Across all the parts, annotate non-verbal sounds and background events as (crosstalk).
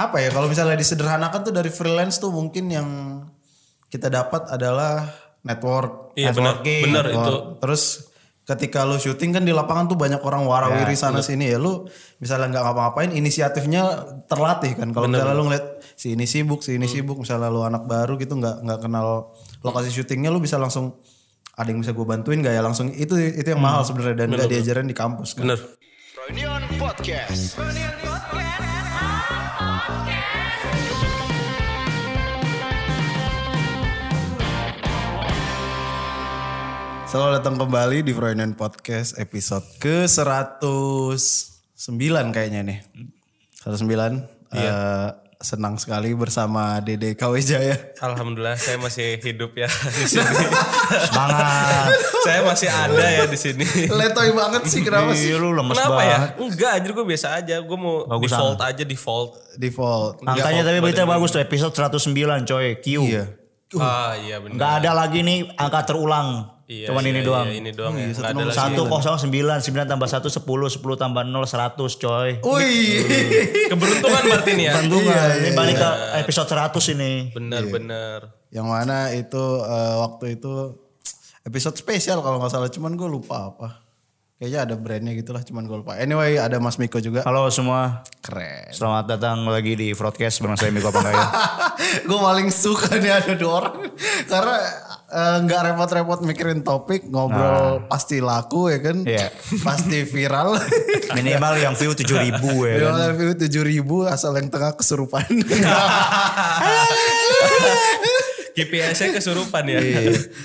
apa ya kalau misalnya disederhanakan tuh dari freelance tuh mungkin yang kita dapat adalah network, Iya, benar. networking, Benar, network. itu. Terus ketika lu syuting kan di lapangan tuh banyak orang warawiri sana sini ya lu misalnya nggak ngapa-ngapain inisiatifnya terlatih kan kalau misalnya lu ngeliat si ini sibuk si ini Hmm. sibuk misalnya lu anak baru gitu nggak nggak kenal lokasi syutingnya lu bisa langsung ada yang bisa gue bantuin gak ya langsung itu itu yang mahal Hmm. sebenarnya dan nggak diajarin di kampus kan Bener. Reunion Podcast. Selamat datang kembali di Freudian Podcast episode ke 109 kayaknya nih. 109. Eh, senang sekali bersama Dede KW Jaya. Alhamdulillah saya masih hidup ya (laughs) di sini. Semangat. saya masih ada ya di sini. (laughs) Letoy banget sih kenapa Ih, sih? Iya, lu lemes Kenapa ya? banget. Enggak, anjir gue biasa aja. Gue mau Bagus default aja default. Default. Angkanya tapi berita bagus tuh episode 109 coy. Q. Iya. Ah iya benar. Nggak ada lagi nih angka terulang. Iya, Cuman iya, ini doang. Iya, ini doang ya. Nggak ada lagi. 109, 9 tambah 1, 10, 10 tambah 0, 100 coy. Wih. Keberuntungan berarti (laughs) ini ya. Keuntungan. Iya, ini balik ke episode 100 ini. Bener bener. Yang mana itu eh, waktu itu episode spesial kalau nggak salah cuman gue lupa apa. Kayaknya ada brandnya gitu lah cuman gue lupa. Anyway ada Mas Miko juga. Halo semua. Keren. Selamat datang lagi di broadcast bersama saya Miko Panggaya. gue paling suka nih ada dua orang karena eh, nggak repot-repot mikirin topik ngobrol pasti laku ya kan Ah. Iya. pasti (laughs) viral Minimal yang view 7000 ribu ya. (laughs) kan. Viral view tujuh ribu asal yang tengah (laughs) kesurupan GPS-nya kesurupan ya.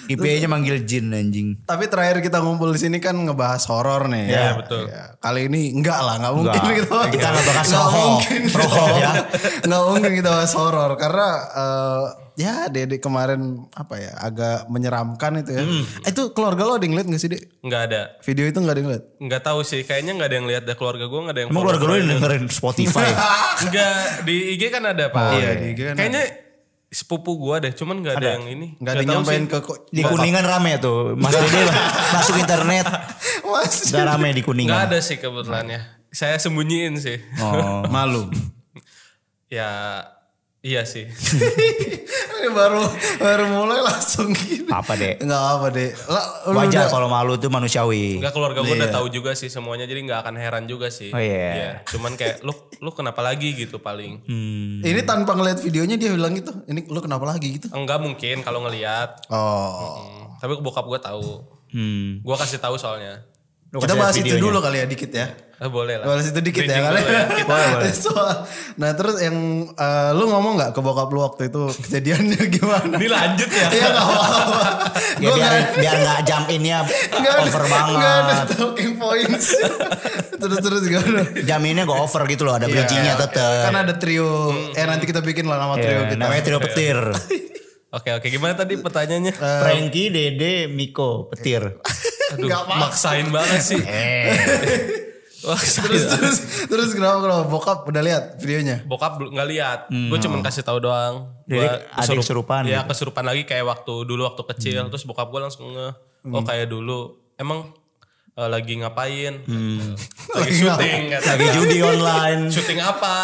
IPA-nya manggil Jin anjing. tapi terakhir kita ngumpul di sini kan ngebahas horor nih Iya, ya betul. Iya. kali ini enggak lah nggak mungkin Nggak. kita Kita nggak bahas nggak rohok. mungkin kita Rohok, ya. (laughs) nggak mungkin kita bahas horor karena eh, ya dede kemarin apa ya agak menyeramkan itu ya Hmm. Eh, itu keluarga lo ada yang ngeliat nggak sih dek (laughs) Enggak ada. Video itu gak ada yang liat? Enggak tahu sih. Kayaknya enggak ada yang lihat deh keluarga gue enggak ada yang. Emang keluarga lu yang dengerin Spotify? (laughs) Enggak di IG kan ada pak. iya, di IG kan Kayaknya sepupu gue deh. Cuman enggak ada, yang ini. Gak ada yang tahu sih. nyampein ke ko- (laughs) Di Kuningan rame tuh. Mas Dede masuk internet. Mas. Udah rame di Enggak Kuningan. ada sih kebetulan ya. Saya sembunyiin sih. Oh. Malu. ya iya sih. (laughs) Ini baru baru mulai langsung gini. Apa, Dek? Enggak apa deh. Lah, lu Wajar udah- kalau malu tuh manusiawi. Enggak keluarga gue Iya. udah tahu juga sih semuanya jadi nggak akan heran juga sih. Oh, iya. Cuman kayak lu lu kenapa lagi gitu paling. Hmm, Ini tanpa ngeliat videonya dia bilang gitu. Ini lu kenapa lagi gitu? Enggak mungkin kalau ngelihat. Oh. Hmm. Tapi bokap gue tahu. Hmm. Gue kasih tahu soalnya. Lu Kita kasih bahas lihat itu videonya. dulu kali ya dikit ya. Eh, boleh lah. Bahas itu dikit ya Bridging kali. dulu ya. (laughs) Soal- nah terus yang eh, lu ngomong nggak ke bokap lu waktu itu kejadiannya (laughs) gimana? Ini lanjut ya. Iya nggak apa-apa. Ya, Gua biar nggak- biar nggak jump innya Gak ada, over Gak ada banget. talking points. (laughs) terus terus gak ada. Jump innya gak over gitu loh, ada bridgingnya tetep. Iya. Kan ada trio. Eh nanti kita bikin lah nama trio Ya, kita. Iya. namanya trio petir. Eh, Oke oke gimana tadi pertanyaannya? Eh, Frankie, Dede, Miko, petir. Aduh, Nggak apa-apa. maksain banget sih. Eh, (laughs) Maksain. (laughs) Terus terus terus kenapa kenapa bokap udah lihat videonya? Bokap bel- nggak lihat. Gue cuman kasih tahu doang. Hmm. Jadi Gua ada gitu? yang kesurupan Iya, kesurupan lagi kayak waktu dulu waktu kecil. Hmm. Terus bokap gue langsung nge oh kayak dulu. Emang eh, lagi ngapain? (laughs) Lagi syuting kata Hmm. lagi dia. judi online. Syuting apa?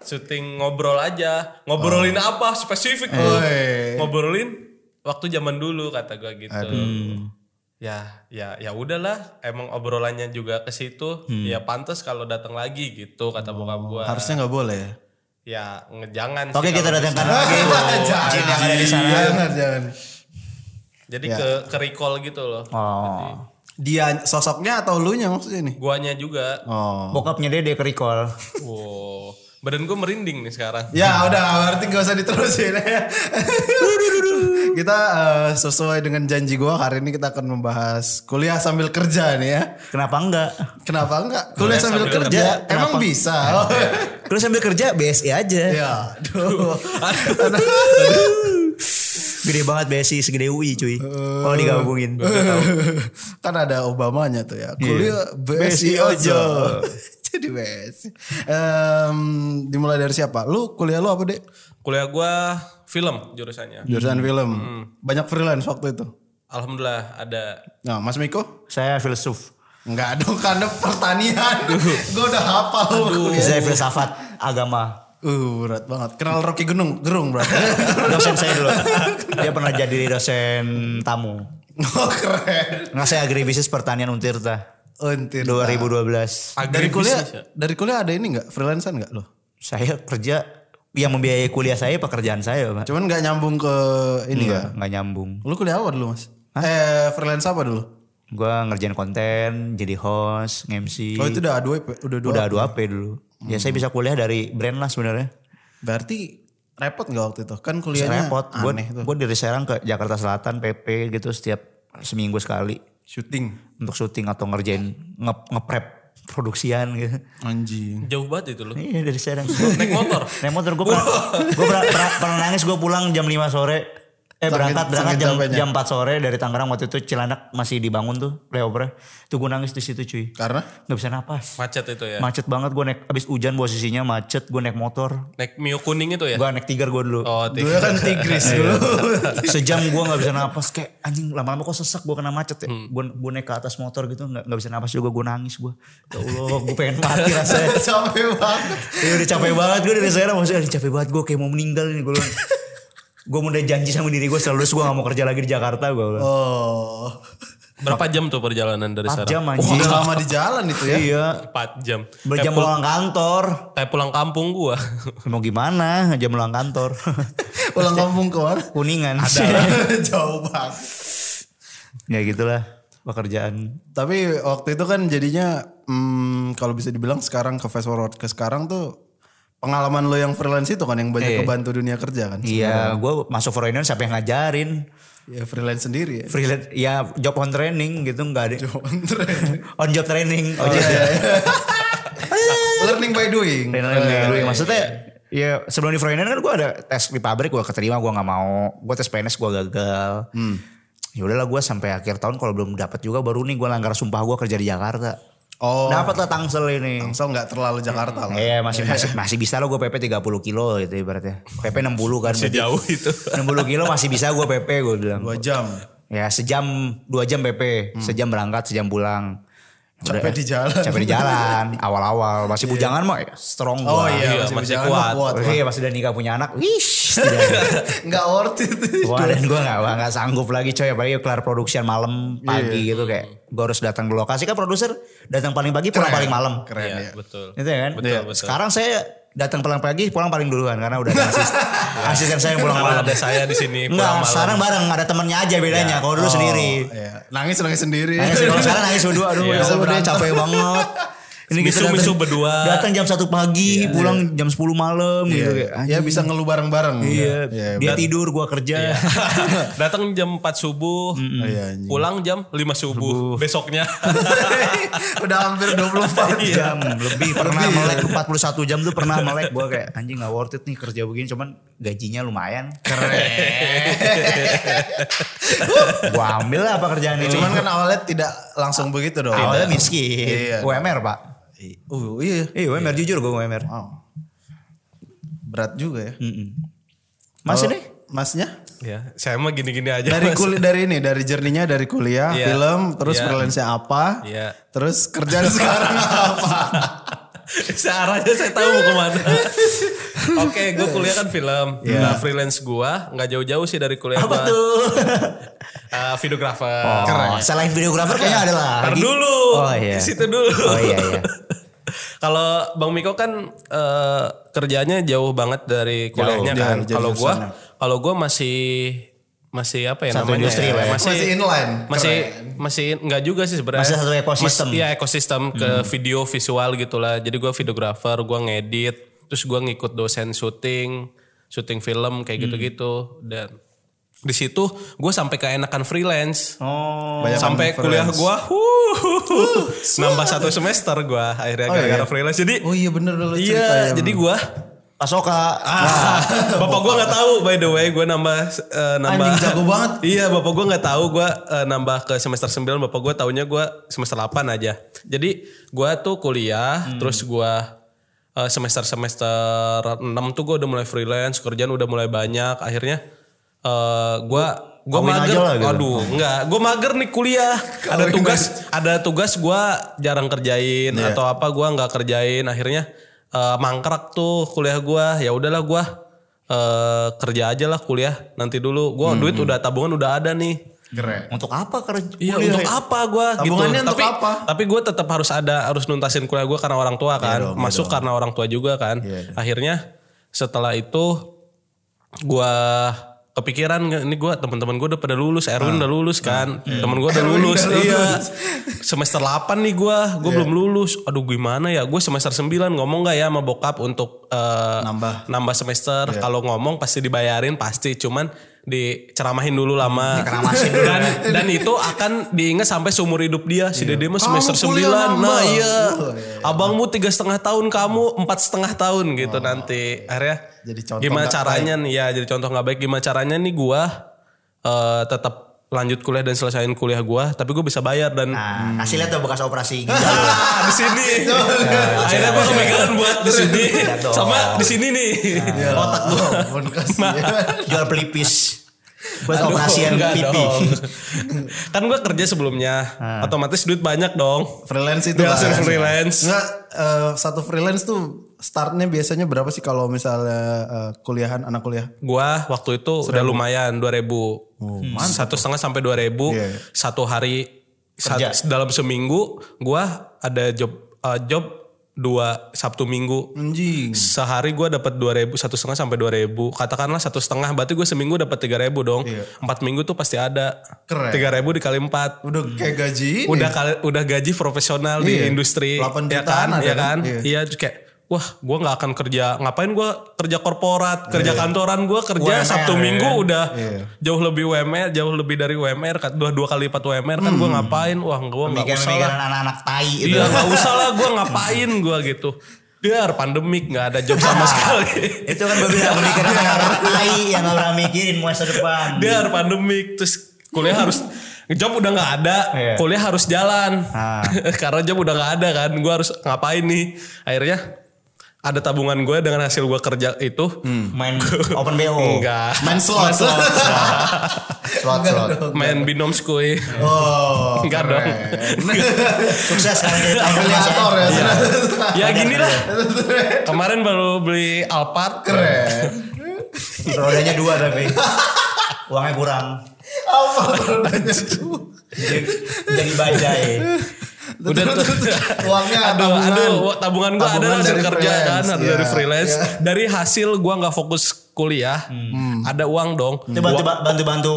Syuting ngobrol aja. Oh. Ngobrolin apa? Spesifik Eh. lu. Oi. Ngobrolin waktu zaman dulu kata gue gitu. Ya, ya, ya udahlah. Emang obrolannya juga ke situ. Hmm. Ya pantas kalau datang lagi gitu kata bokap gue. Harusnya nggak boleh. ya? Ya nge- jangan sih Oh. Oke kita kalau datangkan Iya. bisa. lagi Iya. (laughs) jin yang ada di sana. Jangan jangan. Jadi ke, ke recall gitu loh. Oh. Dia sosoknya atau lu nya maksudnya nih? Guanya juga. Oh. Bokapnya Dede ke recall. Wow. Badan gue merinding nih sekarang. Ya udah berarti gak usah diterusin ya. (laughs) kita eh, sesuai dengan janji gua hari ini kita akan membahas kuliah sambil kerja nih ya. Kenapa (laughs) enggak? Kenapa enggak? Kuliah sambil, sambil kerja, kerja, emang kenapa? bisa. (laughs) (laughs) Terus sambil kerja BSI aja. ya, aduh. Gede banget BSI segede UI Eh. cuy. Kalau digabungin. (laughs) kan ada Obamanya tuh ya. Kuliah BSI BSI aja. aja. (laughs) Jadi BSI. Em, dimulai dari siapa? Lu kuliah lu apa, Dek? Kuliah gue film jurusannya. Jurusan film. Banyak freelance waktu itu. Alhamdulillah ada. Nah, Mas Miko? Saya filsuf. (laughs) Enggak dong, karena pertanian. Gue udah hafal. Saya filsafat agama. Uh, berat banget. Kenal Rocky Genung, Gerung berarti. (laughs) dosen saya dulu dia pernah jadi dosen tamu oh, keren. nggak saya agribisnis pertanian Untirta Entir. 2012 Dari kuliah, Agribisnis ya? dari kuliah ada ini nggak freelancean nggak lo? saya kerja yang membiayai kuliah saya pekerjaan saya pak Cuman nggak nyambung ke ini ya. nggak nggak nyambung Lu kuliah apa dulu mas? Eh freelance apa dulu? gua ngerjain konten jadi host MC Oh itu udah A2P, udah dua. Iya. udah 2 p dulu ya saya bisa kuliah dari brand lah sebenarnya Berarti repot nggak waktu itu? Kan kuliahnya repot gue aneh tuh. gue dari Serang ke Jakarta Selatan PP gitu setiap seminggu sekali Shooting, untuk syuting atau ngerjain nge ngeprep produksian gitu anjing. Jauh banget itu lu. Iya dari Serang. Naik motor. Naik motor gue pernah, gua pernah, pernah, pernah nangis gue pulang jam 5 sore. Eh berangkat saking berangkat jam, capeknya. jam 4 sore dari Tangerang waktu itu Cilandak masih dibangun tuh flyover. Tuh gue nangis di situ cuy. Karena Gak bisa napas. Macet itu ya. Macet banget gue naik abis hujan posisinya macet gue naik motor. Naik Mio kuning itu ya. Gue naik tigar gue dulu. Oh, iya, dulu tiga. kan Tigris (laughs) dulu. (laughs) Sejam gue gak bisa napas kayak anjing lama-lama kok sesek gue kena macet ya. Hmm. Gue gue naik ke atas motor gitu gak, gak bisa napas juga gue nangis gue. Ya Allah gue pengen mati rasanya. Capek banget. Iya udah capek banget gue dari sekarang maksudnya "Aduh, capek banget gue kayak mau meninggal ini gue bilang. gue udah janji sama diri gue selalu gue gak mau kerja lagi di Jakarta gue bilang. Oh, Berapa jam tuh perjalanan dari Empat sana? jam anjing. udah lama di jalan itu ya. Iya. 4 jam. Udah jam pulang kantor. Kayak pulang kampung gua. Mau gimana jam pulang kantor. (laughs) Iya. Pulang kampung ke mana? Kuningan. (laughs) Jauh banget. (laughs) ya gitulah pekerjaan. Tapi waktu itu kan jadinya hmm, kalau bisa dibilang sekarang ke fast forward ke sekarang tuh pengalaman lo yang freelance itu kan yang banyak kebantu dunia kerja kan. Iya gue masuk foreigner siapa yang ngajarin. Ya freelance sendiri ya. (laughs) Freelance ya job on training gitu gak ada. Bener. On job training. Oh, iya. Learning by doing. Eh. Freelance dulu ya. iya, Maksudnya ya sebelum di Froynen kan gue ada tes di pabrik gue keterima gue nggak mau. Gue tes PNS gue gagal. Hmm. Ya udahlah gue sampai akhir tahun kalau belum dapat juga baru nih gue langgar sumpah gue kerja di Jakarta. Oh. Dapat lah tangsel ini. Tangsel nggak terlalu Jakarta lah. Iya masih, masih masih bisa lo gue PP 30 kilo gitu ibaratnya. PP 60 kan. Masih berarti. jauh itu. 60 kilo masih bisa gue PP gue bilang. Dua jam. Ya sejam dua jam PP, sejam berangkat sejam pulang. Hmm. Capek di jalan. Iya, Capek di (laughs) jalan awal-awal masih bujangan mah ya, strong Oh gua. iya, Iya, masih, masih berjalan, kuat. kuat. Oke, iya, pas udah nikah punya anak, wish. tidak. (laughs) Nggak worth it. Kemarin gue gak, gak sanggup lagi coy, apalagi kelar produksian malam, Iya. pagi gitu kayak. Gue harus datang ke lokasi, kan produser datang paling pagi, pulang paling malam. Keren Iya, ya. betul. Gitu ya kan? Betul, Iya. betul. Sekarang saya datang paling pagi, pulang paling duluan, karena udah ada (laughs) asisten, asisten saya yang pulang Karena malam. ada saya di (laughs) sini Enggak, pulang malam. Oh. sekarang bareng, ada temennya aja bedanya, kalau dulu sendiri. Iya. Nangis nangis sendiri. Nangis, kalau sekarang nangis berdua, aduh ya Bisa Allah, dia berantem. capek banget. Iya. gitu, Misu-misu datang- berdua. Iya. Datang jam 1 pagi, pulang jam 10 malam Iya. gitu kayak. Ya bisa ngeluh bareng-bareng. Iya, Iya. dia tidur, gua kerja. (laughs) Datang jam 4 subuh, Iya, anjing. pulang jam 5 subuh besoknya. (laughs) Udah hampir 24 jam. jam lebih Iya. pernah melek 41 jam tuh pernah melek gue kayak anjing gak worth it nih kerja begini cuman gajinya lumayan (laughs) gue ambil lah apa kerjaan ini Cuman kan awalnya tidak langsung begitu dong. awalnya miskin Iya. UMR pak Uh, iya. iya UMR jujur gue UMR Wow. Berat juga ya. Kalau masih nih Masnya? ya, saya mah gini-gini aja. Dari Mas. kuliah dari ini, dari jerninya dari kuliah, Iya. film, terus Iya. freelance apa? Iya. Terus kerjaan (laughs) sekarang apa? (laughs) Searahnya saya tahu mau (laughs) kemana. Oke, gue kuliah kan film. Nah, freelance gue nggak jauh-jauh sih dari kuliah Iya. apa gua. (laughs) tuh Eh, videographer. oh, selain videografer kayaknya ada lah Ntar Lagi- dulu. oh iya Di situ dulu. oh iya iya Kalau Bang Miko kan eh, kerjanya jauh banget dari kuliahnya jauh, kan. jauh Kalau gua sana. kalau gua masih masih apa ya Satu namanya? industri ya? lah ya. Masih Masih inline. Masih Keren. masih enggak juga sih sebenarnya. Masih satu ekosistem. Mas- Iya, ekosistem ke Hmm. video visual gitulah. Jadi gua videografer, gua ngedit, terus gua ngikut dosen syuting, syuting film kayak Hmm. gitu-gitu dan di situ gue sampai keenakan freelance. oh Banyak sampai conference. kuliah gua huh, nambah satu semester gua akhirnya gara-gara freelance. Jadi Oh Uh, iya bener dulu Iya, jadi gua Pasoka (laughs) bapak gua nggak tahu by the way gua nambah eh, nambah Anjing, jago banget. (laughs) Iya, bapak gua nggak tahu gua eh, nambah ke semester 9, bapak gua taunya gua semester 8 aja. Jadi gua tuh kuliah, terus gua eh, semester-semester 6 tuh gua udah mulai freelance, kerjaan udah mulai banyak. Akhirnya eh, gua gua Kawin mager. aja lah gitu. Aduh, enggak, gua mager nih kuliah. ada tugas, ada tugas gua jarang kerjain atau apa gua nggak kerjain. Akhirnya eh, mangkrak tuh kuliah gua ya udahlah gua eh, kerja aja lah kuliah nanti dulu gua duit udah tabungan udah ada nih Keren. Untuk apa kerja? Iya untuk apa gua Tabungannya gitu. untuk tapi, apa? Tapi gue tetap harus ada harus nuntasin kuliah gue karena orang tua kan. Masuk karena orang tua juga kan. Akhirnya setelah itu gua kepikiran ini gua teman-teman gue udah pada lulus, Erwin udah lulus kan. Temen gue udah lulus. iya. Semester 8 nih gua, gue belum lulus. Aduh gimana ya? Gue semester 9 ngomong nggak ya sama bokap untuk eh, Nambah. semester. Kalau ngomong pasti dibayarin pasti, cuman diceramahin dulu lama dan dan itu akan diingat sampai seumur hidup dia si dede mah semester kuliah nambah. 9 nah iya abangmu tiga setengah tahun kamu empat setengah tahun gitu nanti akhirnya Jadi contoh gimana nggak caranya nih ya jadi contoh nggak baik gimana caranya nih gua eh, tetap lanjut kuliah dan selesaiin kuliah gua tapi gue bisa bayar dan Nah, kasih lihat tuh bekas operasi. gitu. Ah, (laughs) di sini. Akhirnya gue kepikiran buat di sini sama di sini nih. otak (laughs) gue pun kasihan. Jual (laughs) pelipis. Buat Aduh, operasian enggak pipi. dong. kan gue kerja sebelumnya, otomatis duit banyak dong. freelance itu kan. Dia langsung freelance. Nggak, eh, satu freelance tuh startnya biasanya berapa sih kalau misalnya eh, kuliahan anak kuliah Gue waktu itu udah lumayan 2000 Hmm. satu setengah sampai 2000 Oh, Iya. satu hari sa- dalam seminggu gue ada job eh, job dua Sabtu Minggu. anjing Sehari gue dapat 2000 satu setengah sampai 2000 Katakanlah satu setengah, berarti gue seminggu dapat 3000 dong. Empat minggu tuh pasti ada. Iya. Keren. 3000 dikali empat. udah kayak gaji ini. udah kali- udah gaji profesional di Iya. industri 8 ya jutaan kan ada ya kan? kan Iya. iya terus kayak wah gue nggak akan kerja ngapain gue kerja korporat kerja Iya. kantoran gue kerja sabtu minggu udah jauh lebih UMR jauh lebih dari UMR kan dua dua kali lipat UMR kan Hmm. gue ngapain wah gue nggak usah lah Pemikiran-pemikiran anak-anak tai gitu. itu. iya nggak usah lah gue ngapain gue gitu biar pandemik nggak ada job (laughs) sama sekali Itu kan gue (laughs) bilang pemikiran anak-anak tai yang gak pernah mikirin masa depan. biar pandemik terus kuliah harus job udah nggak ada Iya. kuliah harus jalan Ah. (laughs) karena job udah nggak ada kan gue harus ngapain nih akhirnya ada tabungan gue dengan hasil gue kerja itu Main open BO. Hmm. enggak main (laughs) slot Slot slot. main binom (laughs) skuy oh enggak dong Sukses sekarang (laughs) jadi Iya. tampil Mas, Kalkulator ya. ya gini lah kemarin baru beli Alphard Keren. Rodanya dua tapi. Uangnya kurang. Apa rodanya tuh? Jadi, jadi bajai. udah (laughs) tuh Uangnya aduh, tabungan. aduh, wah, tabungan gue ada Tabungan lah dari dari kerja kan, freelance, iya, ada Hmm. dari freelance, dari hasil gue nggak fokus kuliah, ada uang dong. Itu bantu Gua- bantu bantu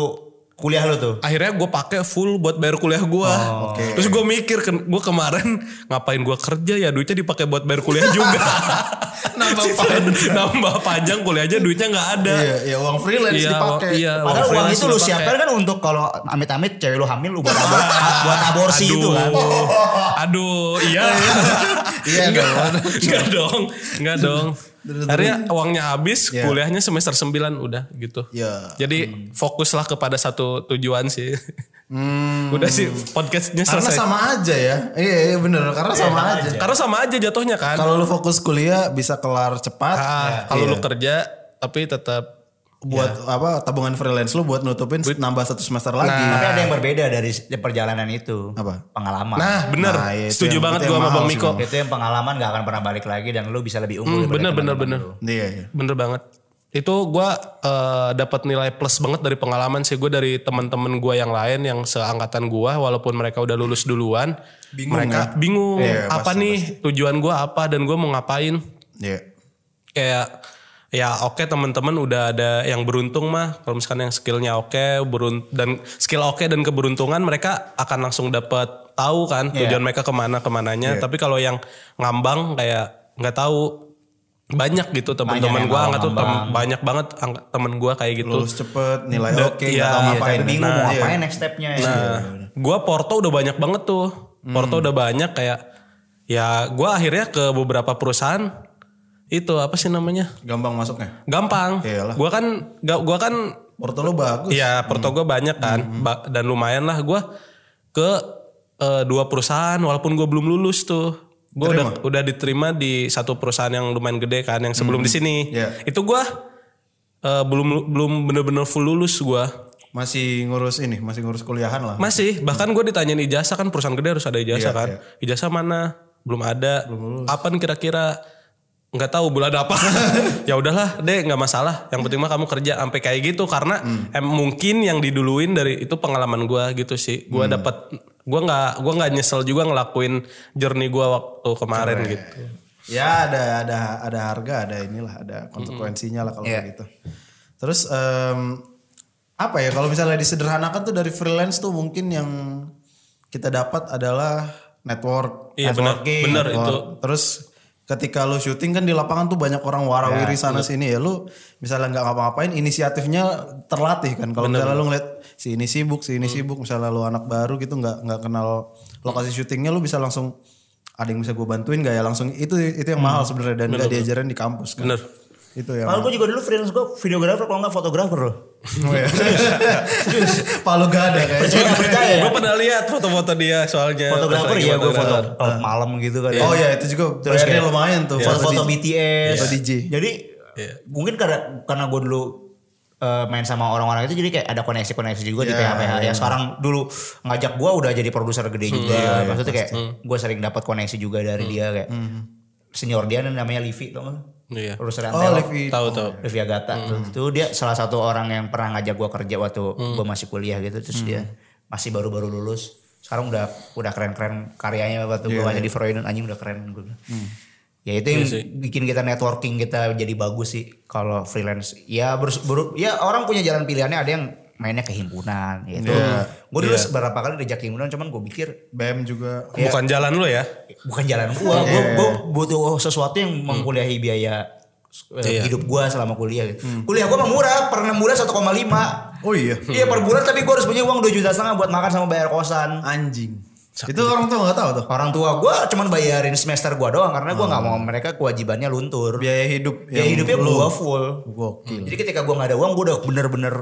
kuliah lu tuh. akhirnya gue pakai full buat bayar kuliah gue. Terus gue mikir, gue kemarin ngapain gue kerja ya duitnya dipakai buat bayar kuliah juga. (laughs) (laughs) nambah panjang, nambah panjang kuliah aja duitnya nggak ada. iya iya uang freelance Iya, dipakai iya, Padahal uang freelance itu lu dipakai. siapkan kan untuk kalau amit-amit cewek lu hamil lu buat, buat, (laughs) buat aborsi aduh, itu kan. Aduh, iya. Iya, enggak, dong. enggak dong, enggak dong. Akhirnya uangnya habis, kuliahnya semester 9 udah gitu. Ya. Jadi fokuslah kepada satu tujuan sih. (laughs) Udah sih podcastnya hmm, karena selesai. iya. sama aja ya iya iya bener karena sama aja Karena sama aja jatuhnya kan. kalau lu fokus kuliah bisa kelar cepat ya. Ah, kalau lu kerja tapi tetap buat apa tabungan freelance lu buat nutupin nambah satu semester lagi Tapi ada yang berbeda dari s- perjalanan itu. Iya. Apa? Pengalaman. Nah, bener. Nah, iya, itu Setuju yang- banget itu gua yang sama Bang mahal sih, Miko. Itu yang pengalaman gak akan pernah balik lagi dan lu bisa lebih unggul. Hmm, daripada bener bener teman-teman bener. lu. iya iya Bener banget. Itu gua eh, dapat nilai plus banget dari pengalaman sih gue dari teman-teman gua yang lain yang seangkatan gua walaupun mereka udah lulus duluan, Bingung ya? mereka bingung Iya, apa pasti, nih tujuan gua apa dan gua mau ngapain. iya Kayak ya oke teman-teman udah ada yang beruntung mah kalau misalkan yang skillnya oke berun dan skill oke dan keberuntungan mereka akan langsung dapat tahu kan tujuan mereka kemana kemananya tapi kalau yang ngambang kayak nggak tahu banyak gitu teman-teman yang gue mau nggak tuh tem- banyak banget angka- temen gue kayak gitu lulus cepet nilai Da- oke iya, nggak tahu iya, ngapain Tapi bingung Nah, mau iya. ngapain next stepnya ya. gue Porto udah banyak banget tuh. Porto udah banyak kayak ya gue akhirnya ke beberapa perusahaan itu apa sih namanya gampang masuknya gampang. Iyalah. Gue kan ga- gua kan Porto lo bagus Hmm. ya Porto gue banyak kan Ba- dan lumayan lah gue ke eh, dua perusahaan walaupun gue belum lulus tuh. Gue udah udah diterima di satu perusahaan yang lumayan gede kan yang sebelum di sini. Iya. Itu gue eh, belum belum bener-bener full lulus gue. masih ngurus ini masih ngurus kuliahan lah Masih, bahkan gue ditanyain ijazah kan Iya, perusahaan gede harus ada ijazah kan. Ijazah mana? Belum ada. Kapan kira-kira nggak tahu bulan (laughs) apa ya udahlah deh nggak masalah yang penting mah kamu kerja sampai kayak gitu karena Hmm. em, mungkin yang diduluin dari itu pengalaman gua gitu sih gua Hmm. dapat gua nggak gua nggak nyesel juga ngelakuin journey gua waktu kemarin gitu Iya. Ya ada ada ada harga, ada inilah, ada konsekuensinya lah kalau kayak gitu. Terus em, apa ya kalau misalnya disederhanakan tuh dari freelance tuh mungkin yang kita dapat adalah network, Iya, benar. networking, Benar, network. itu. Terus ketika lu syuting kan di lapangan tuh banyak orang warawiri sana sini ya lu misalnya nggak ngapa-ngapain inisiatifnya terlatih kan kalau misalnya lu ngeliat si ini sibuk si ini sibuk misalnya lu anak baru gitu nggak nggak kenal lokasi syutingnya lu bisa langsung ada yang bisa gue bantuin gak ya langsung itu itu yang mahal sebenarnya dan nggak diajarin di kampus kan bener itu ya Kalau gue juga dulu freelance gue videografer kalau nggak fotografer loh. (laughs) palu gak ada kayaknya Percaya nggak percaya? ya? Gua pernah lihat foto-foto dia soalnya Iya, Fotografer pas lagi ya gue foto foto-foto. oh, malam gitu kan. Iya, oh ya itu juga Terus bayarnya kayak lumayan tuh Foto-foto di- BTS. Iya, Foto DJ. Jadi mungkin karena karena gue dulu eh, main sama orang-orang itu jadi kayak ada koneksi-koneksi juga gitu di Iya, PHPH yang sekarang dulu ngajak gue udah jadi produser Hmm. gede juga Iya, maksudnya kayak gue sering dapat koneksi juga dari dia kayak senior dia namanya Livi tau gak? Iya. produser Hmm. oh Antelo. Livi tahu tahu Livi Agata tuh. Itu dia salah satu orang yang pernah ngajak gua kerja waktu gua masih kuliah gitu terus dia masih baru-baru lulus sekarang udah udah keren-keren karyanya waktu gua aja di Freudian anjing udah keren gua bilang. ya itu yang bikin kita networking kita jadi bagus sih kalau freelance ya berus- beru- ya orang punya jalan pilihannya ada yang mainnya ke himpunan ya itu gue dulu beberapa kali diajak ke himpunan cuman gue pikir BM juga Iya. bukan jalan lu (laughs) ya bukan jalan gua, gua, Iya. gua butuh sesuatu yang Hmm. mengkuliahi biaya eh, Iya. hidup gua selama kuliah gitu. Hmm. Kuliah gua mah murah, per 6 bulan 1,5. oh iya Iya per bulan tapi gua harus punya uang 2 juta setengah buat makan sama bayar kosan. anjing itu orang tuh nggak tahu tuh Orang tua gua cuman bayarin semester gua doang karena gua nggak mau mereka kewajibannya Hmm. luntur. biaya hidup Biaya hidupnya lu- gua full. gokil Jadi ketika gua nggak ada uang gua udah bener-bener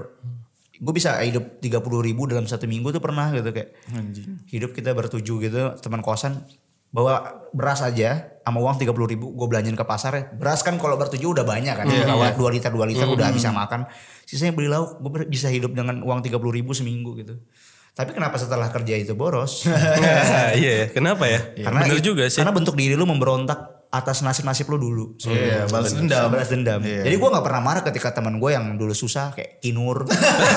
gue bisa hidup 30 ribu dalam satu minggu tuh pernah gitu kayak hidup kita bertuju gitu teman kosan bawa beras aja sama uang 30 ribu gue belanjain ke pasar ya. beras kan kalau bertuju udah banyak kan bawa 2 liter 2 liter udah bisa makan sisanya beli lauk gue bisa hidup dengan uang 30 ribu seminggu gitu tapi kenapa setelah kerja itu boros iya ya kenapa ya karena bener juga sih karena bentuk diri lu memberontak atas nasib-nasib lu dulu Iya, balas dendam. Iya. balas dendam. Jadi gue nggak pernah marah ketika teman gue yang dulu susah kayak Kinur, (laughs)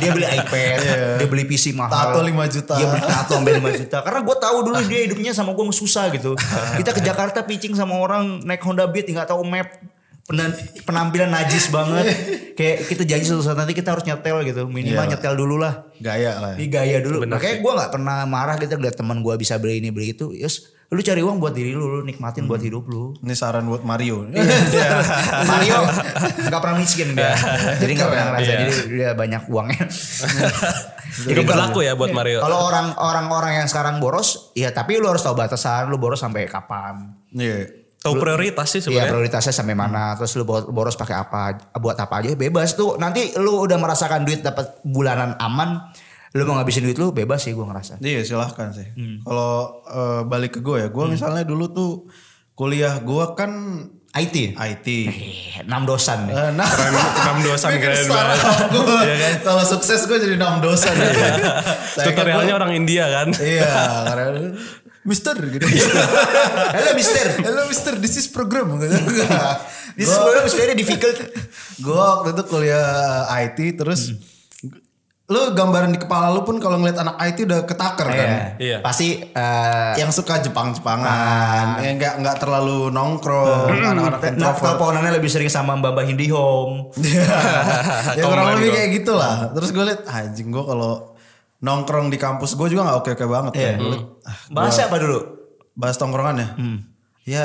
dia beli iPad, dia beli PC mahal, Iya. Tato 5 juta. dia beli tato sampai 5 juta. Karena gue tahu dulu dia hidupnya sama gue susah gitu. Ah. Kita ke Jakarta pitching sama orang naik Honda Beat nggak tahu map. Penan- penampilan najis (laughs) banget kayak kita janji suatu saat nanti kita harus nyetel gitu minimal Iya. nyetel dulu lah gaya lah ya. Iya. di gaya dulu. Makanya gue nggak pernah marah gitu lihat teman gue bisa beli ini beli itu. Yes, lu cari uang buat diri lu, lu nikmatin buat hidup lu. ini saran buat Mario Iya. (laughs) Mario nggak pernah miskin dia, jadi nggak pernah ngerasa Iya. jadi dia banyak uangnya. Itu berlaku ya buat Mario. Kalau orang orang-orang yang sekarang boros, ya tapi lu harus tahu batasan, lu boros sampai kapan. (laughs) iya tahu prioritas sih Iya sebenarnya prioritasnya sampai mana, terus lu bo- boros pakai apa, buat apa aja bebas tuh. Nanti lu udah merasakan duit dapat bulanan aman, lu mau ngabisin duit lu bebas sih gue ngerasa. Iya silahkan sih. Hmm. Kalau eh, balik ke gue ya, gue misalnya dulu tuh kuliah gue kan IT, IT. Eh, enam dosan nih. Eh, (laughs) Nah, enam dosan bikin keren Iya kan? startup (laughs) gua. kan Kalau sukses gue jadi enam dosan. ya. (laughs) Saya kan tutorialnya gua- orang India kan Iya, karena Mister gitu. Iya. (laughs) Halo Mister, Hello Mister, this is program. (laughs) Gitu. this is very- very difficult. gue waktu itu kuliah IT terus Hmm. lu gambaran di kepala lu pun kalau ngeliat anak IT udah ketakar kan. Iya. Pasti eh, yang suka Jepang-Jepangan, Ah. yang nggak nggak terlalu nongkrong, anak-anak (laughs) Nah, introvert. teleponannya lebih sering sama Mbak Mbak Hindi Home. (laughs) ya kurang Tongan lebih gua. kayak gitu lah. Hmm. Terus gue liat anjing gue kalau nongkrong di kampus gue juga nggak oke oke banget. kan. Iya. Gua liat, ah, Bahasa apa dulu? bahas tongkrongan ya. Hmm. Ya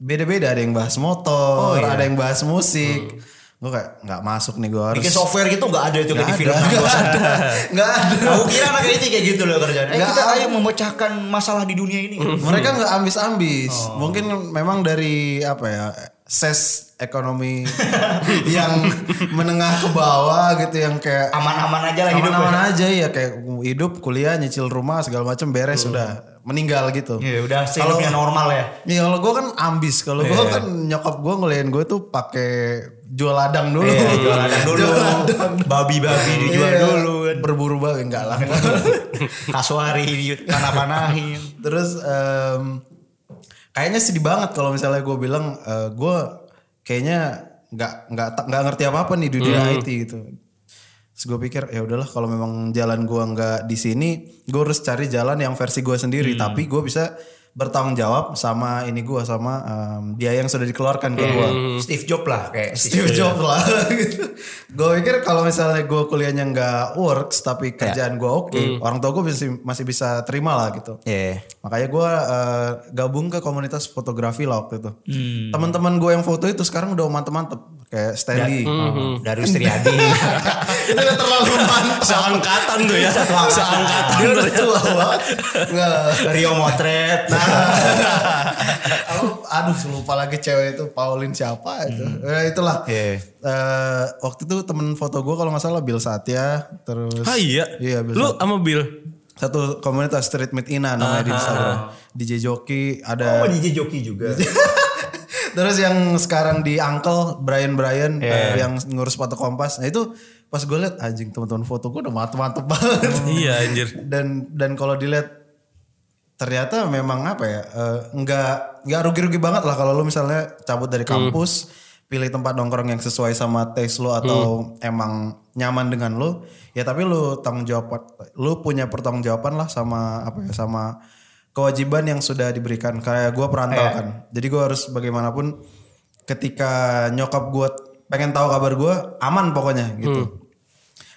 beda-beda ada yang bahas motor, Oh, iya. ada yang bahas musik. Gue kayak nggak masuk nih gue harus. Hmm. Bikin software gitu nggak ada itu kayak di film. Gak ada. Gak ada. (laughs) Aku kira anak IT kayak gitu loh kerjaan. Eh, Nggak kita ada. Hmm. ayo memecahkan masalah di dunia ini. Mereka nggak ambis-ambis. Oh. Mungkin memang dari apa ya ses ekonomi (laughs) yang menengah ke bawah gitu yang kayak Aman-aman aja lah hidup. ya. aman-aman aja ya kayak hidup kuliah nyicil rumah segala macam beres sudah meninggal gitu. Hmm. Iya, udah sehidupnya normal ya. Iya kalau gue kan ambis kalau gue Iya. kan nyokap gue ngeliatin gue tuh pakai jual ladang dulu. Iya, jual ladang (laughs) dulu. Babi-babi dijual Iya, (laughs) dulu. kan. Berburu babi enggak lah. (laughs) Kasuari, panah-panahin. Terus em, kayaknya sedih banget kalau misalnya gue bilang eh, gue kayaknya nggak nggak ta- nggak ngerti apa apa nih di dunia IT gitu. Terus gue pikir ya udahlah kalau memang jalan gue nggak di sini, gue harus cari jalan yang versi gue sendiri. Tapi gue bisa bertanggung jawab sama ini gue sama em, biaya yang sudah dikeluarkan ke gue. Steve Jobs lah kayak Steve Jobs lah. (laughs) gue pikir kalau misalnya gue kuliahnya nggak works tapi kerjaan gue oke, orang tua gue masih masih bisa terima lah gitu. Iya. Makanya gue eh, gabung ke komunitas fotografi lah waktu itu. Hmm. Teman-teman gue yang foto itu sekarang udah mantep-mantep kayak Stanley. Ya. Oh. Dari (laughs) Ustriadi. itu udah terlalu mantap. Seangkatan tuh ya. Seangkatan. Dia udah tua banget. Nggak. Rio Motret. Aku, aduh lupa lagi cewek itu Pauline siapa itu. Hmm. Ya itulah. Iya. Eh, waktu itu temen foto gue kalau nggak salah Bill Satya terus. Ah iya. Iya Bill Lu Satya. sama Bill. Satu komunitas Street Meet Ina namanya Ah. di Instagram. DJ Joki ada. DJ Joki juga. terus yang sekarang di Uncle Brian Iya, Brian eh, yang ngurus foto kompas. Nah itu pas gue liat anjing teman-teman foto gue udah mantep-mantep banget. Iya anjir. dan dan kalau dilihat ternyata memang apa ya eh, nggak nggak rugi-rugi banget lah kalau lu misalnya cabut dari kampus pilih tempat nongkrong yang sesuai sama taste lu atau emang nyaman dengan lu ya tapi lu tanggung jawab lu punya pertanggungjawaban lah sama apa ya sama kewajiban yang sudah diberikan kayak gua perantau kan jadi gua harus bagaimanapun ketika nyokap gua pengen tahu kabar gua aman pokoknya gitu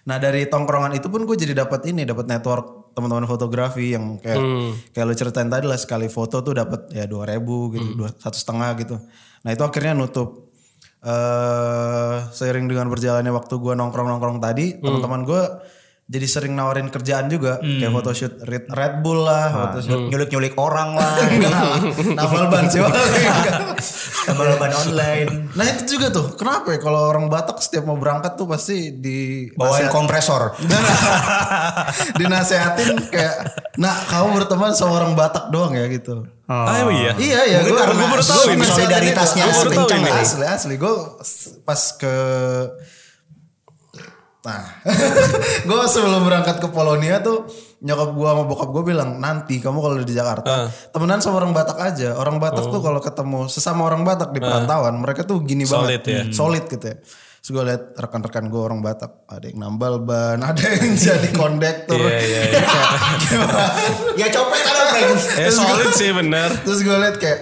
Nah dari tongkrongan itu pun gue jadi dapat ini, dapat network teman-teman fotografi yang kayak kayak lu ceritain tadi lah sekali foto tuh dapat ya dua ribu gitu, dua satu setengah gitu. Nah itu akhirnya nutup. eh seiring dengan berjalannya waktu gue nongkrong-nongkrong tadi, teman-teman gue jadi sering nawarin kerjaan juga kayak photoshoot Red, Red Bull lah, photoshoot Nyulik-nyulik orang lah. gitu Naval Ban siapa? Tambah online. Nah itu juga tuh, kenapa ya kalau orang Batak setiap mau berangkat tuh pasti di Bawain kompresor. dinasehatin kayak nah kamu berteman sama orang Batak doang ya gitu Ah iya. iya iya Mungkin gua- karena gua baru gua tahu ini. nasehatin solidaritasnya Gua baru tahu kencang ini. kali. asli asli gue pas ke nah (laughs) gue sebelum berangkat ke Polonia tuh nyokap gue sama bokap gue bilang nanti kamu kalau di Jakarta temenan sama orang Batak aja orang Batak tuh kalau ketemu sesama orang Batak di perantauan mereka tuh gini banget Solid ya. Hmm. solid gitu ya Terus gue liat rekan-rekan gue orang Batak ada yang nambal ban (laughs) ada yang jadi kondektur Iya, iya, (laughs) iya. ya copet ada friends. Eh solid sih bener. Terus gue liat kayak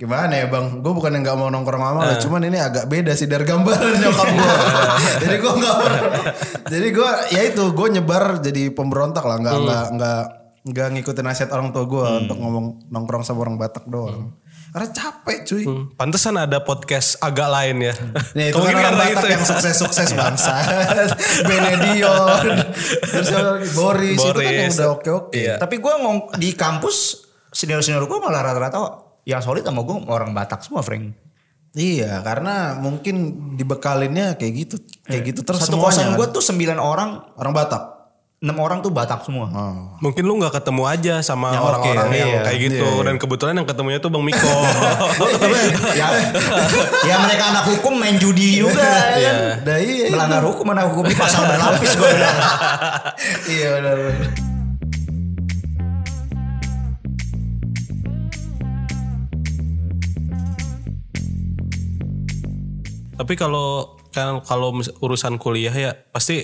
gimana ya bang, gue bukan yang gak mau nongkrong sama lo, cuman ini agak beda sih dari gambaran (laughs) nyokap gue. jadi gue nggak, pernah- jadi gue ya itu gue nyebar jadi pemberontak lah, nggak nggak nggak nggak ngikutin nasihat orang tua gue untuk ngomong nongkrong sama orang Batak doang. Karena capek cuy. Hmm. Pantesan ada podcast agak lain ya. Ya, itu kan orang Batak yang sukses-sukses bangsa. (laughs) Benedion, terus siapa lagi? Boris, itu kan yang Boris. udah oke-oke. Iya. Tapi gue ngomong di kampus senior-senior gue malah rata-rata yang solid sama gue orang Batak semua, Frank. Iya, karena mungkin dibekalinnya kayak gitu, kayak gitu terus Satu semuanya. kosan kan. gue tuh sembilan orang, orang Batak. enam orang tuh Batak semua. Oh. Mungkin lu nggak ketemu aja sama Yang orang-orang oke, yang iya. iya. kayak gitu dan kebetulan yang ketemunya tuh (laughs) Bang Miko. ya, ya mereka anak hukum main judi juga ya kan. Nah, iya, iya. (laughs) Melanggar hukum anak hukum dipasang berlapis gue bilang. iya benar. benar. Tapi kalau kan kalau mis- urusan kuliah ya pasti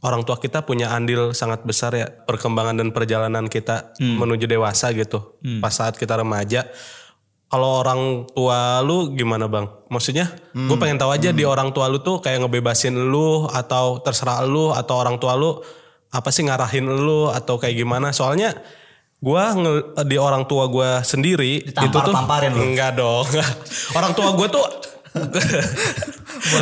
orang tua kita punya andil sangat besar ya perkembangan dan perjalanan kita menuju dewasa gitu. Pas saat kita remaja. Kalau orang tua lu gimana bang? Maksudnya, gue pengen tahu aja di orang tua lu tuh kayak ngebebasin lu atau terserah lu atau orang tua lu apa sih ngarahin lu atau kayak gimana? Soalnya gue di orang tua gue sendiri itu tuh Ditampar-tamparin lu. Enggak dong. (laughs) Orang tua gue tuh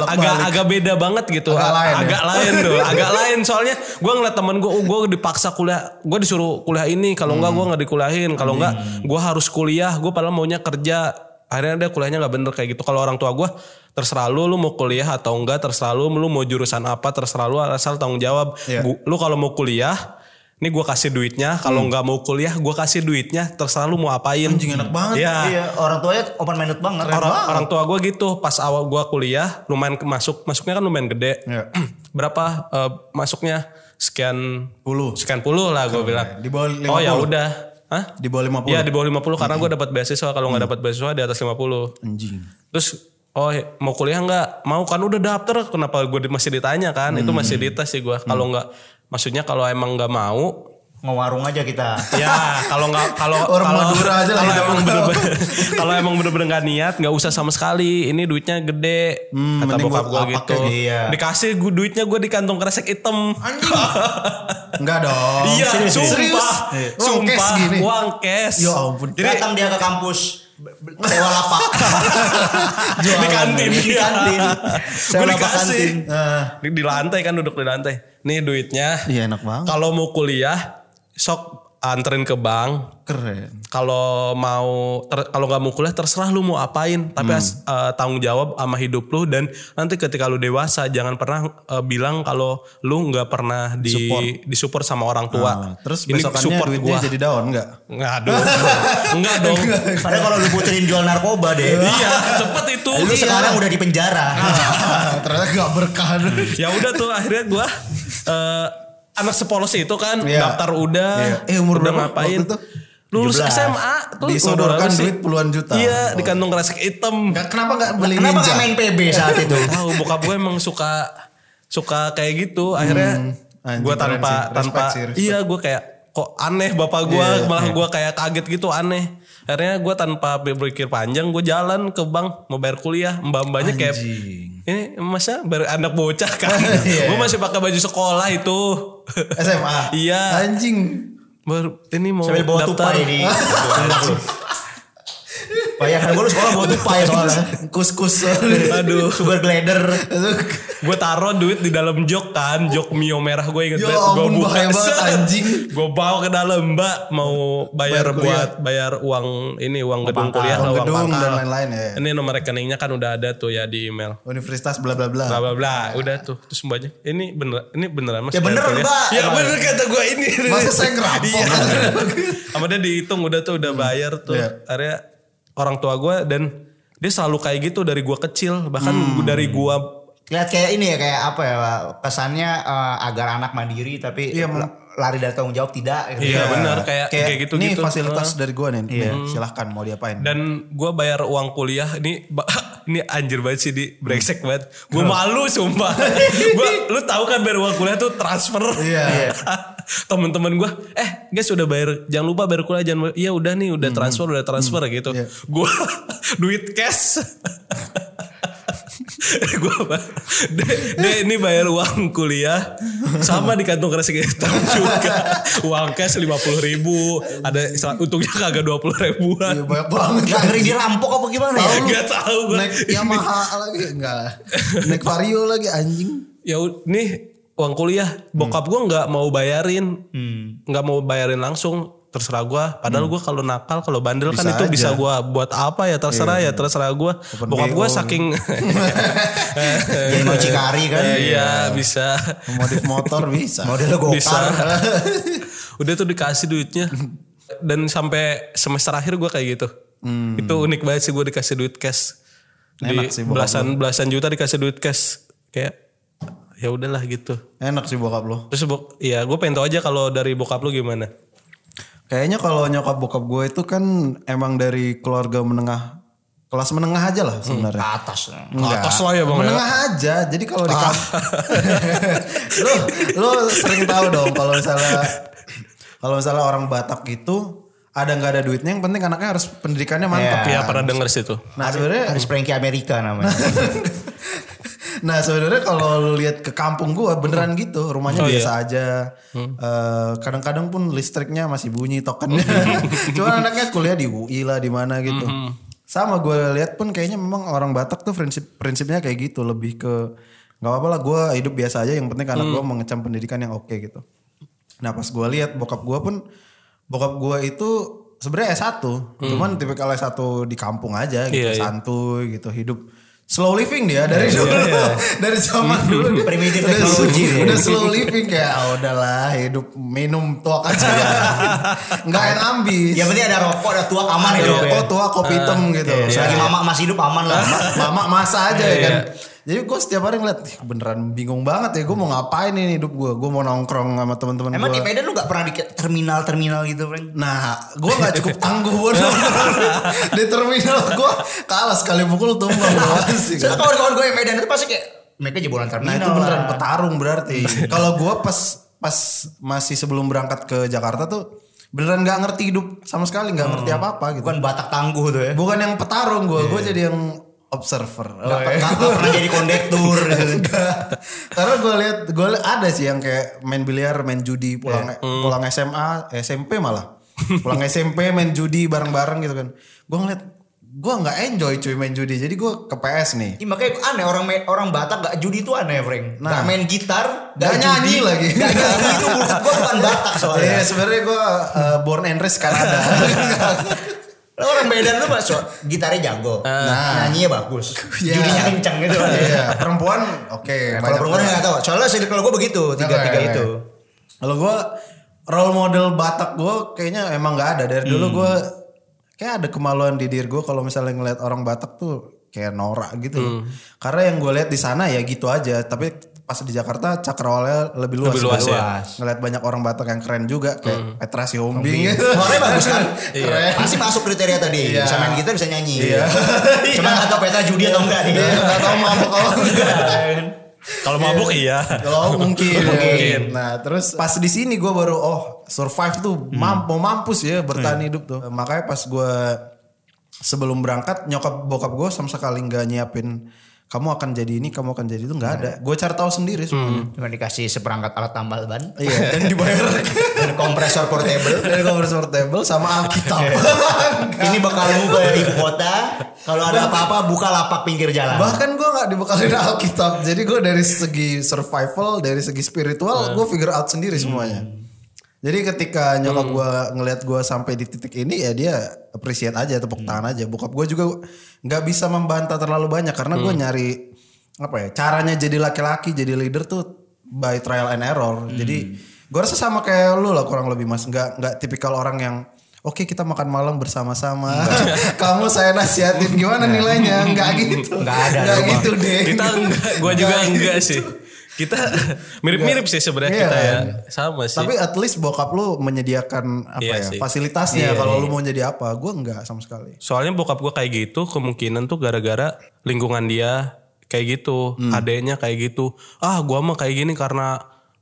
agak agak beda banget gitu. Agak lain ya? agak lain tuh, agak lain soalnya gue ngeliat temen gue, gue dipaksa kuliah, gue disuruh kuliah ini, kalau enggak Hmm. gue nggak dikuliahin, kalau enggak gue harus kuliah, gue padahal maunya kerja. Akhirnya dia kuliahnya nggak bener kayak gitu. Kalau orang tua gue terserah lu, lu mau kuliah atau enggak, terserah lu, lu mau jurusan apa, terserah lu, asal tanggung jawab. Iya. Gu- Lu kalau mau kuliah, ini gue kasih duitnya. Kalau nggak mau kuliah, gue kasih duitnya. Terserah lu mau apain. Hmm. Anjing enak banget. Iya. Iya, orang tuanya open minded banget. orang, orang tua gue gitu pas awal gue kuliah lumayan ke- masuk masuknya kan lumayan gede Iya. (clears throat) berapa eh, masuknya sekian Puluh. sekian puluh lah gue bilang Di bawah oh ya 50. udah Hah? Di bawah 50. Iya di bawah 50 karena gue dapat beasiswa kalau nggak dapat beasiswa di atas 50. Anjing. Terus oh mau kuliah nggak? Mau kan udah daftar kenapa gue masih ditanya kan? Itu masih di tes sih gue. Kalau nggak maksudnya kalau emang nggak mau Ngewarung aja (laughs) kita. ya kalau nggak (laughs) kalau Orang kalau Madura aja lah ya. kalau kita emang mau. bener-bener kalau emang bener-bener nggak niat nggak usah sama sekali ini duitnya gede kata Hmm, mending bokap buat gue lapak gitu aja, iya. dikasih gue duitnya gue di kantong kresek hitam Enggak dong. iya Serius. sumpah Iya. Serius? Uang sumpah cash gini. uang cash Ya ampun. Datang dia ke kampus be- be- sewa lapak. (laughs) di kantin Di kantin. gue Sewa lapak dikasih kantin. Ah. Eh, di, di lantai kan duduk di lantai nih duitnya Iya enak banget. kalau mau kuliah sok anterin ke bank Keren. kalau mau ter- kalau nggak mau kuliah terserah lu mau apain tapi Hmm. as- eh, tanggung jawab sama hidup lu dan nanti ketika lu dewasa jangan pernah eh, bilang kalau lu nggak pernah di Support. disupport sama orang tua Nah, terus Ini besokannya support duitnya gua. jadi down (laughs) enggak? nggak (laughs) dong nggak dong Padahal kalau lu puterin jual narkoba deh. iya cepet itu Iya. Lu sekarang udah di penjara. Ternyata gak berkah. ya udah tuh akhirnya gua eh, anak sepolos itu kan Iya. daftar udah Iya. Eh, umur udah berapa ngapain waktu itu? lulus 17. SMA tuh Disodorkan umur berapa sih? duit puluhan juta. Oh. iya di kantong kresek hitam Nggak- Kenapa nggak beli Kenapa ninja? gak main PB saat itu? Tahu bokap gue emang suka suka kayak gitu. Akhirnya Hmm, Anjing, gue keren sih. tanpa Respect tanpa sih, respect. iya gue kayak kok aneh bapak gue Iya, iya, malah iya. gue kayak kaget gitu aneh. Akhirnya gue tanpa berpikir panjang gue jalan ke bank mau bayar kuliah mbak mbaknya kayak Anjing. ini masa baru anak bocah kan? (laughs) Iya. gue masih pakai baju sekolah itu. (laughs) SMA. Iya. Anjing. baru ini mau Sambil bawa daftar. (laughs) tupai di. Bayangkan gue iya, lu sekolah (laughs) bawa tupai soalnya. Kus-kus. Aduh. Sugar glider. gue taruh duit di dalam jok kan jok mio merah gue inget Ya banget gue ampun, bahaya banget, (laughs) anjing. gue bawa ke dalam mbak mau Bayar bayar kuliah. buat bayar uang ini uang gedung pangkal. kuliah Uang lah, uang gedung pangkal. dan lain-lain ya. ini nomor rekeningnya kan udah ada tuh ya di email Universitas bla bla bla. bla bla bla udah tuh terus mbaknya ini bener ini beneran mas Ya bayar bener, kuliah?" Mbak. ya bener kata gue ini Masa saya ngerampok? Iya. sama dia dihitung udah tuh udah bayar tuh Iya. area orang tua gue dan dia selalu kayak gitu dari gue kecil bahkan Hmm. dari gue Lihat kayak ini ya kayak apa ya Pak? kesannya eh, agar anak mandiri tapi Iya, Mam. lari dari tanggung jawab tidak. gitu. Iya benar kayak kayak gitu Nih gitu. fasilitas dari gua nih. Nih, Silahkan mau diapain? Dan gue bayar uang kuliah ini ba- (laughs) ini anjir banget sih di brengsek banget. Gue malu (laughs) sumpah. gua, lu tahu kan bayar uang kuliah tuh transfer. Iya. (laughs) Temen-temen gue, eh guys udah bayar, jangan lupa bayar kuliah, jangan, iya udah nih udah transfer, udah transfer gitu. Hmm. Iya. Gue (laughs) duit cash. (laughs) gue ini bayar uang kuliah sama di kantong kresek hitam (laughs) juga uang cash lima puluh ribu ada untungnya kagak dua puluh ribuan Iya, banyak banget. Gak ngeri dirampok apa gimana ya? Gak tahu gue. Naik Yamaha lagi enggak. lah. Naik Vario lagi anjing. Ya u- nih uang kuliah bokap gue nggak mau bayarin, nggak mau bayarin langsung terserah gue. Padahal Hmm. gue kalau nakal kalau bandel kan Bisa itu bisa aja. gue buat apa ya terserah ya Iya. terserah gue. Bokap gue BO. saking (laughs) Jadi mau Cikari kan. Eh, iya bisa Modif motor bisa. Modelnya bisa. gokar. Udah tuh dikasih duitnya dan sampai semester akhir gue kayak gitu. Itu unik banget sih gue dikasih duit cash. Hmm. Enak Di sih bokap belasan belasan juta dikasih duit cash kayak ya udahlah gitu. (laughs) Enak sih bokap lo. Terus bok, ya gue pengen tau aja kalau dari bokap lu gimana? Kayaknya kalau nyokap bokap gue itu kan emang dari keluarga menengah kelas menengah aja lah Ke sebenarnya. atas. Enggak. atas lah ya, Bang, ya. Ah. Menengah aja. Jadi kalau di (laughs) kamp- lo lo sering tahu dong kalau misalnya kalau misalnya orang Batak itu ada nggak ada duitnya yang penting anaknya harus pendidikannya mantap. Iya pernah denger sih itu. Nah sebenarnya Harus Frankie Amerika namanya. (laughs) Nah sebenarnya kalau lu lihat ke kampung gua beneran gitu rumahnya Oh, iya. Hmm. biasa aja. Eh, Kadang-kadang pun listriknya masih bunyi Oh, tokennya. iya. (laughs) Cuman anaknya kuliah di UI lah di mana gitu. Hmm, Sama gua lihat pun kayaknya memang orang Batak tuh prinsip prinsipnya kayak gitu lebih ke nggak apa-apa lah gue hidup biasa aja yang penting anak Hmm. gua mengecam pendidikan yang oke gitu. Nah pas gua lihat bokap gua pun bokap gua itu sebenarnya S1 Hmm. cuman tipikal S1 di kampung aja gitu Iya, iya. santuy gitu hidup slow living Iya, dia dari dulu (laughs) dari (laughs) zaman dulu dia Primitive udah, technology dia. udah slow living kayak ah, udahlah hidup minum tuak aja Iya. ya. (laughs) nggak yang ambis Yang penting ada rokok, ada tuak Iya, aman ada hidup ya. rokok tua kopi hitam gitu Selagi mama masih hidup aman lah. mama masa aja ya kan Jadi gue setiap hari ngeliat, "Ih, beneran bingung banget ya gue mau ngapain ini hidup gue. Gue mau nongkrong sama teman-teman Emang gue. di Medan lu gak pernah di terminal-terminal gitu, Frank? Nah, gue gak (laughs) cukup tangguh bodoh. di terminal gue kalah sekali pukul tumbang (laughs) gua. Asik. Soalnya kawan-kawan gue yang Medan itu pasti kayak mereka jebolan Nah terminal. itu beneran lah. Iya. petarung berarti. Kalau gue pas pas masih sebelum berangkat ke Jakarta tuh beneran nggak ngerti hidup sama sekali nggak ngerti Hmm. apa apa gitu. Bukan Batak tangguh tuh ya. Bukan yang petarung gue, Iya. gue jadi yang observer. Nggak Gak peka. pernah (laughs) jadi kondektur. Iya. Nggak. Karena gue lihat gue liat ada sih yang kayak main biliar, main judi pulang eh, Iya. pulang SMA, SMP malah. (laughs) Pulang SMP main judi bareng-bareng gitu kan. Gue ngeliat gue nggak enjoy cuy main judi. Jadi gue ke PS nih. Ih, makanya aneh orang me- orang Batak gak judi itu aneh, Frank. Nah. Gak main gitar, Gak nyanyi lagi. Gak nyanyi (laughs) itu menurut gue bukan Batak soalnya. Iya sebenarnya gue born and raised (laughs) Kanada. (laughs) Lo orang Medan tuh mas, so- gitarnya jago, Nah. nyanyinya bagus, Iya. judinya kencang gitu. Iya perempuan oke. banyak Nah, iya, Nah, kalau perempuan banget. nggak tahu, soalnya sih kalau gue begitu tiga Oke, tiga oke. itu. Kalau gue role model Batak gue kayaknya emang nggak ada dari dulu gue kayak ada kemaluan di diri gue kalau misalnya ngeliat orang Batak tuh kayak norak gitu. loh. Karena yang gue lihat di sana ya gitu aja. Tapi pas di Jakarta cakrawalnya lebih luas. Gitu. Lebih luas ya. Ngeliat banyak orang Batak yang keren juga kayak Petra Sihombing. (laughs) gitu. Suaranya bagus kan? Keren. Pasti masuk kriteria tadi. Iya. Bisa main gitar, bisa nyanyi. (laughs) Cuma nggak tahu peta judi atau enggak gitu. nih. Iya, nggak tahu mabok (laughs) apa enggak. Kalau mabuk iya. Kalau Oh, (laughs) mungkin, Mungkin. Nah terus Hmm. pas di sini gue baru oh survive tuh mampu mampus ya bertahan hidup tuh. Makanya pas gue sebelum berangkat nyokap bokap gue sama sekali nggak nyiapin kamu akan jadi ini kamu akan jadi itu nggak ada. Gue cari tahu sendiri semuanya. Cuma dikasih seperangkat alat tambal ban Iya dan dibayar (laughs) dan kompresor portable. dari conversion table sama (laughs) Alkitab. Ini bekalmu ke ibu kota. Kalau ada apa-apa buka lapak pinggir jalan. Bahkan gue nggak dibekalin Alkitab. Jadi gue dari segi survival, dari segi spiritual, gue figure out sendiri semuanya. Jadi ketika nyokap gue ngelihat gue sampai di titik ini ya dia appreciate aja, tepuk tangan aja. Bokap gue juga nggak bisa membantah terlalu banyak karena gue nyari apa ya caranya jadi laki-laki, jadi leader tuh by trial and error. Jadi gue rasa sama kayak lu lah kurang lebih mas. Nggak nggak tipikal orang yang Oke kita makan malam bersama-sama. (laughs) Kamu saya nasihatin gimana nilainya? Nggak gitu. Nggak ada, Nggak Bang. gitu deh. Kita enggak, gue juga Nggak enggak gitu. sih. Kita mirip-mirip sih sebenarnya Iya kita ya. kan? Sama sih. Tapi at least bokap lu menyediakan apa Iya ya sih. fasilitasnya kalau lu mau jadi apa. Gue enggak sama sekali. Soalnya bokap gue kayak gitu kemungkinan tuh gara-gara lingkungan dia kayak gitu, adeknya kayak gitu. Ah, gua mah kayak gini karena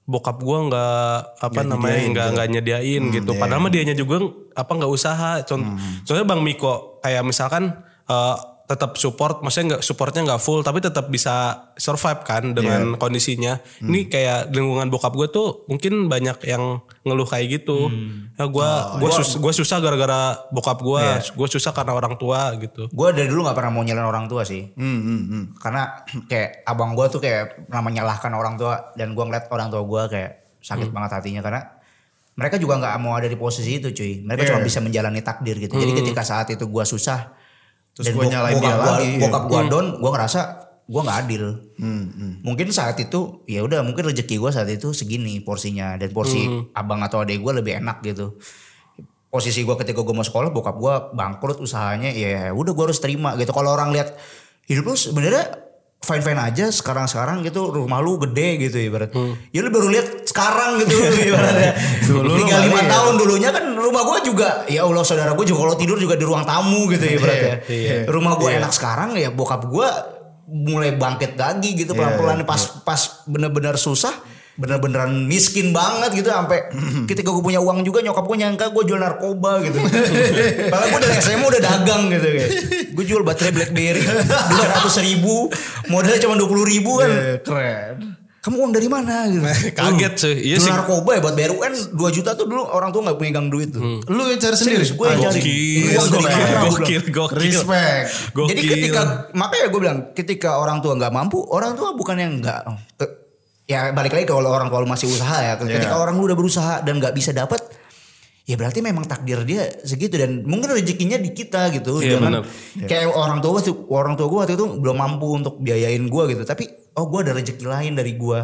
bokap gua nggak apa namanya nggak nggak nyediain gitu. Padahal mah dianya juga apa nggak usaha. Contoh, soalnya Bang Miko kayak misalkan eh, tetap support, maksudnya nggak supportnya nggak full, tapi tetap bisa survive kan dengan kondisinya. Ini kayak lingkungan bokap gue tuh mungkin banyak yang ngeluh kayak gitu. Ya gue sus, gua susah gara-gara bokap gue, gue susah karena orang tua gitu. Gue dari dulu nggak pernah mau nyalain orang tua sih. hmm. Karena (clears throat) kayak abang gue tuh kayak pernah menyalahkan orang tua dan gue ngeliat orang tua gue kayak sakit Hmm. banget hatinya karena mereka juga nggak mau ada di posisi itu cuy. Mereka Iya. cuma bisa menjalani takdir gitu. Jadi ketika saat itu gue susah Hmm. Terus gua bok- nyalain bokap dia gua, lagi, Hmm, ya. Bokap gue down, gue ngerasa gue nggak adil. Mungkin saat itu ya udah mungkin rezeki gue saat itu segini porsinya dan porsi Hmm. abang atau adek gue lebih enak gitu posisi gua ketika gua mau sekolah bokap gua bangkrut usahanya ya udah gua harus terima gitu kalau orang lihat hidup lu sebenarnya fine fine aja sekarang sekarang gitu rumah lu gede gitu ibarat ya lu baru lihat sekarang (laughs) gitu ibaratnya Dulu Hmm. lu tiga lima nggak lihat. tahun dulunya kan rumah gua juga ya allah saudara gua juga kalau tidur juga di ruang tamu gitu ibaratnya rumah gua enak sekarang ya bokap gua mulai bangkit lagi gitu pelan pelan pas pas bener bener susah bener-beneran miskin banget gitu sampai ketika gue punya uang juga nyokap gue nyangka gue jual narkoba gitu padahal gue dari SMA udah dagang gitu kayak gue jual baterai BlackBerry dua ratus ribu modalnya cuma dua puluh ribu kan Iya. Eh, Keren. kamu uang dari mana gitu Kaget sih, iya Jual sih. narkoba ya buat bayar UN 2 juta tuh dulu orang tua nggak pegang duit Hmm. tuh Lu yang cari sendiri. Serius, gua yang cari. Iya, Gokil, Uang dari gokil, mana? gokil, gokil. Respect. Gokil. Iya, Jadi ketika makanya gue bilang ketika orang tua nggak mampu, orang tua bukan yang nggak oh, ke- ya balik lagi ke kalau orang tua lu masih usaha ya. Iya. Ketika orang lu udah berusaha dan nggak bisa dapat, ya berarti memang takdir dia segitu dan mungkin rezekinya di kita gitu. Iya, Jangan benar. kayak orang tua waktu orang tua gue waktu itu belum mampu untuk biayain gue gitu, tapi oh gue ada rezeki lain dari gue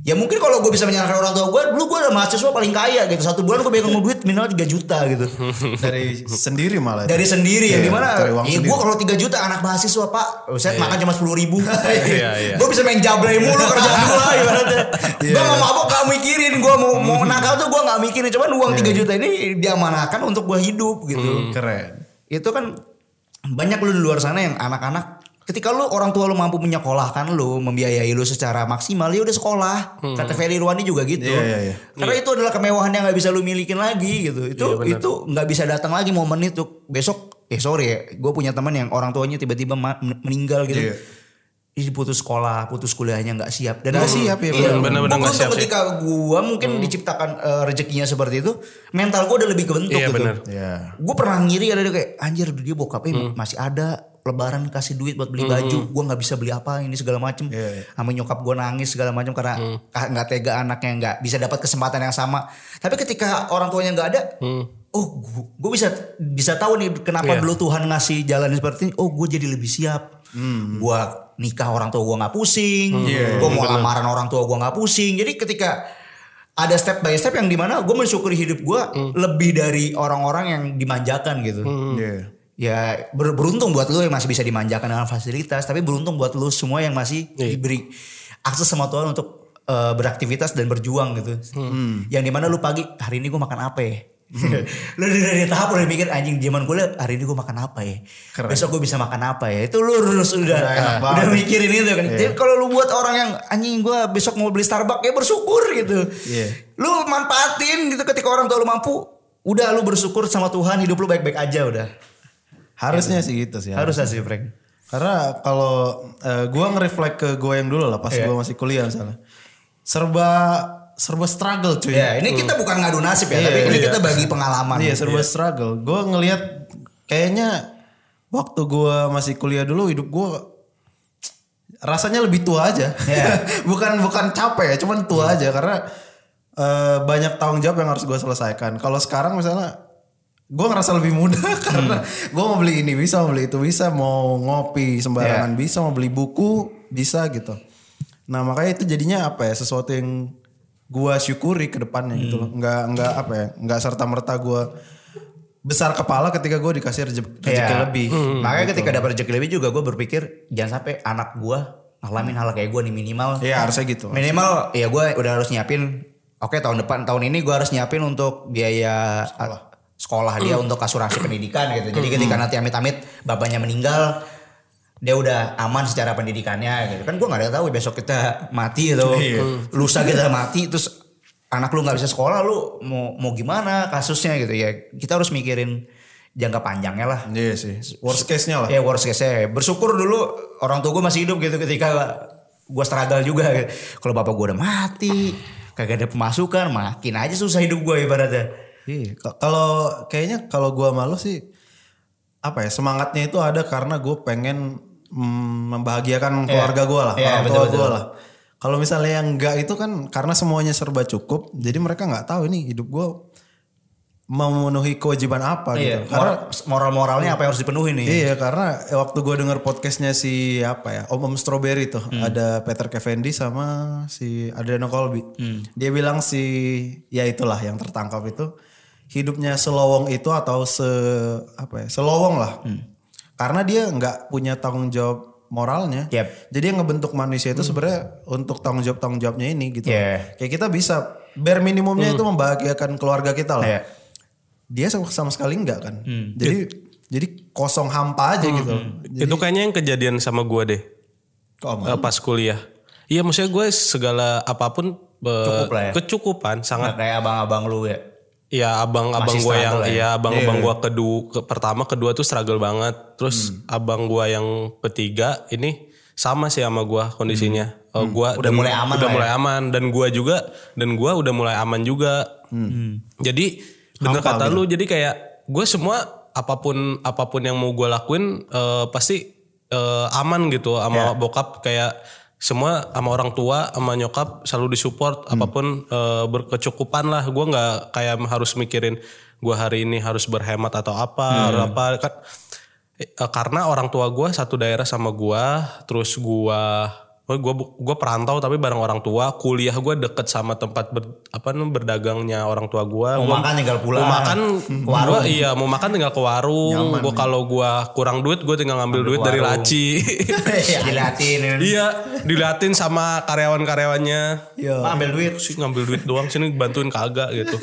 Ya mungkin kalau gue bisa menyarankan orang tua gue, dulu gue ada mahasiswa paling kaya gitu. Satu bulan gue pegang duit minimal 3 juta gitu. Hmm. dari sendiri malah Dari sendiri ya, Iya, dimana? cari uang Ya gue sendiri. kalau 3 juta anak mahasiswa pak, saya makan cuma 10 (laughs) ribu. Iya, iya. Gue bisa main jablay mulu kerjaan gue ibaratnya. Iya. Gue mau mabok gak mikirin, gue mau mau Hmm. nakal tuh gue gak mikirin. Cuman Iya, uang 3 juta ini diamanahkan untuk gue hidup gitu Hmm. keren itu kan banyak lu di luar sana yang anak-anak ketika lu orang tua lu mampu menyekolahkan lu membiayai lu secara maksimal ya udah sekolah kata Ferry Irwani juga gitu Iya, iya, iya. karena itu adalah kemewahan yang nggak bisa lu milikin lagi gitu itu itu nggak bisa datang lagi momen itu besok eh sorry ya gue punya teman yang orang tuanya tiba-tiba ma- meninggal gitu Iya. Ih, putus sekolah, putus kuliahnya nggak siap dan Nggak siap ya, Iya, bener-bener nggak Untung siap sih. ketika gua mungkin diciptakan eh, rezekinya seperti itu, mental gua udah lebih kebentuk Iya, gitu bener. ya gue pernah ngiri ada dia kayak anjir dia bokapnya Hmm. masih ada lebaran kasih duit buat beli baju gue nggak bisa beli apa ini segala macem Iya, Hmm. iya. sama nyokap gue nangis segala macem karena ka- nggak tega anaknya nggak bisa dapat kesempatan yang sama tapi ketika orang tuanya nggak ada Hmm. oh gue bisa bisa tahu nih kenapa Iya. dulu Tuhan ngasih jalan seperti ini oh gue jadi lebih siap gue nikah orang tua gue nggak pusing gue mau lamaran orang tua gue nggak pusing jadi ketika ada step by step yang dimana gue mensyukuri hidup gue lebih dari orang-orang yang dimanjakan gitu. Hmm. Iya. Ya ber- beruntung buat lu yang masih bisa dimanjakan dengan fasilitas, tapi beruntung buat lu semua yang masih Iya. diberi akses sama Tuhan untuk eh, beraktivitas dan berjuang gitu. Hmm. Yang dimana lu pagi hari ini gue makan apa ya? (laughs) lu udah dari tahap udah mikir anjing zaman gue hari ini gue makan apa ya besok gue bisa makan apa ya itu lu harus udah enak banget. Iya. udah (laughs) mikirin itu kan. Jadi kalau lu buat orang yang anjing gua besok mau beli Starbucks ya bersyukur gitu. Iya. Lu manfaatin gitu ketika orang tua lu mampu, udah lu bersyukur sama Tuhan hidup lu baik-baik aja udah. harusnya sih gitu sih Harus sih Frank. Karena kalau eh, gua nge-reflect ke gua yang dulu lah pas gua masih kuliah misalnya. Serba serba struggle cuy. Ya, ini kita bukan ngadu nasib ya, tapi ini kita bagi pengalaman. Iya, serba struggle. Gua ngelihat kayaknya waktu gua masih kuliah dulu hidup gua rasanya lebih tua aja. (laughs) bukan bukan capek ya, cuman tua aja karena eh, banyak tanggung jawab yang harus gua selesaikan. Kalau sekarang misalnya gua ngerasa lebih muda (laughs) karena gua mau beli ini bisa, mau beli itu bisa, mau ngopi sembarangan bisa, mau beli buku bisa gitu. Nah, makanya itu jadinya apa ya? Sesuatu yang gua syukuri ke depannya gitu loh. Enggak enggak apa ya? Enggak serta-merta gua besar kepala ketika gua dikasih rezeki rezeki Iya. lebih. Hmm, gitu. Makanya ketika dapat rezeki lebih juga gue berpikir jangan sampai anak gua ngalamin hal kayak gue nih minimal. Iya, harusnya gitu. Minimal ya gue udah harus nyiapin. Oke tahun depan tahun ini gue harus nyiapin untuk biaya sekolah, dia untuk asuransi pendidikan gitu. Jadi ketika nanti amit-amit bapaknya meninggal dia udah aman secara pendidikannya gitu kan gue nggak ada tahu besok kita mati atau lusa kita mati terus anak lu nggak bisa sekolah lu mau mau gimana kasusnya gitu ya kita harus mikirin jangka panjangnya lah Iya sih. Worst case-nya lah. Ya worst case nya Bersyukur dulu orang tua gue masih hidup gitu ketika gue struggle juga. Kalau bapak gue udah mati, kagak ada pemasukan, makin aja susah hidup gue ibaratnya. Iya, ka- kalau kayaknya kalau gua malu sih apa ya semangatnya itu ada karena gue pengen mm, membahagiakan keluarga gua lah, Iya, orang tua betul-betul. gua lah. Kalau misalnya yang enggak itu kan karena semuanya serba cukup, jadi mereka nggak tahu ini hidup gua memenuhi kewajiban apa Iya, gitu. Karena moral moralnya apa yang harus dipenuhi nih? Iya karena waktu gue denger podcastnya si apa ya Om Om Strawberry tuh Hmm. ada Peter Cavendish sama si Adriano Colby. Hmm. Dia bilang si ya itulah yang tertangkap itu hidupnya selowong itu atau se apa ya selowong lah. Hmm. Karena dia nggak punya tanggung jawab moralnya. Yep. Hmm. Jadi yang ngebentuk manusia itu sebenarnya untuk tanggung jawab tanggung jawabnya ini gitu. Yeah. Hmm. Kayak kita bisa bare minimumnya itu membahagiakan keluarga kita lah Iya. dia sama, sama sekali enggak kan. Hmm. Jadi jadi kosong hampa aja gitu. Itu kayaknya yang kejadian sama gue deh Kok Om? eh, pas kuliah. Iya maksudnya gue segala apapun be- Cukup lah ya. kecukupan sangat. Nggak kayak abang-abang lu ya. Ya abang-abang Masih gue yang, struggle ya. ya abang-abang gue kedua ke- pertama kedua tuh struggle banget. Terus Hmm. abang gue yang ketiga ini sama sih sama gue kondisinya. Eh, gua Hmm. Udah dan- mulai aman udah lah ya. mulai aman dan gue juga dan gue udah mulai aman juga. Hmm. Hmm. Jadi bener kata lu gitu. jadi kayak gue semua apapun apapun yang mau gue lakuin eh, pasti eh, aman gitu sama bokap kayak semua sama orang tua sama nyokap selalu disupport apapun eh, berkecukupan lah gue nggak kayak harus mikirin gue hari ini harus berhemat atau apa atau apa kan eh, karena orang tua gue satu daerah sama gue terus gue gue gue perantau tapi bareng orang tua kuliah gue deket sama tempat ber- apa namanya berdagangnya orang tua gue Mau makan kan tinggal pulang. mau makan Ke warung. gua- iya mau makan tinggal ke warung gue kalau gue kurang duit gue tinggal ngambil duit dari warung. laci (laughs) Dilatih. iya dilatin sama karyawan-karyawannya Pak ambil duit. sih ngambil duit doang sini bantuin kagak gitu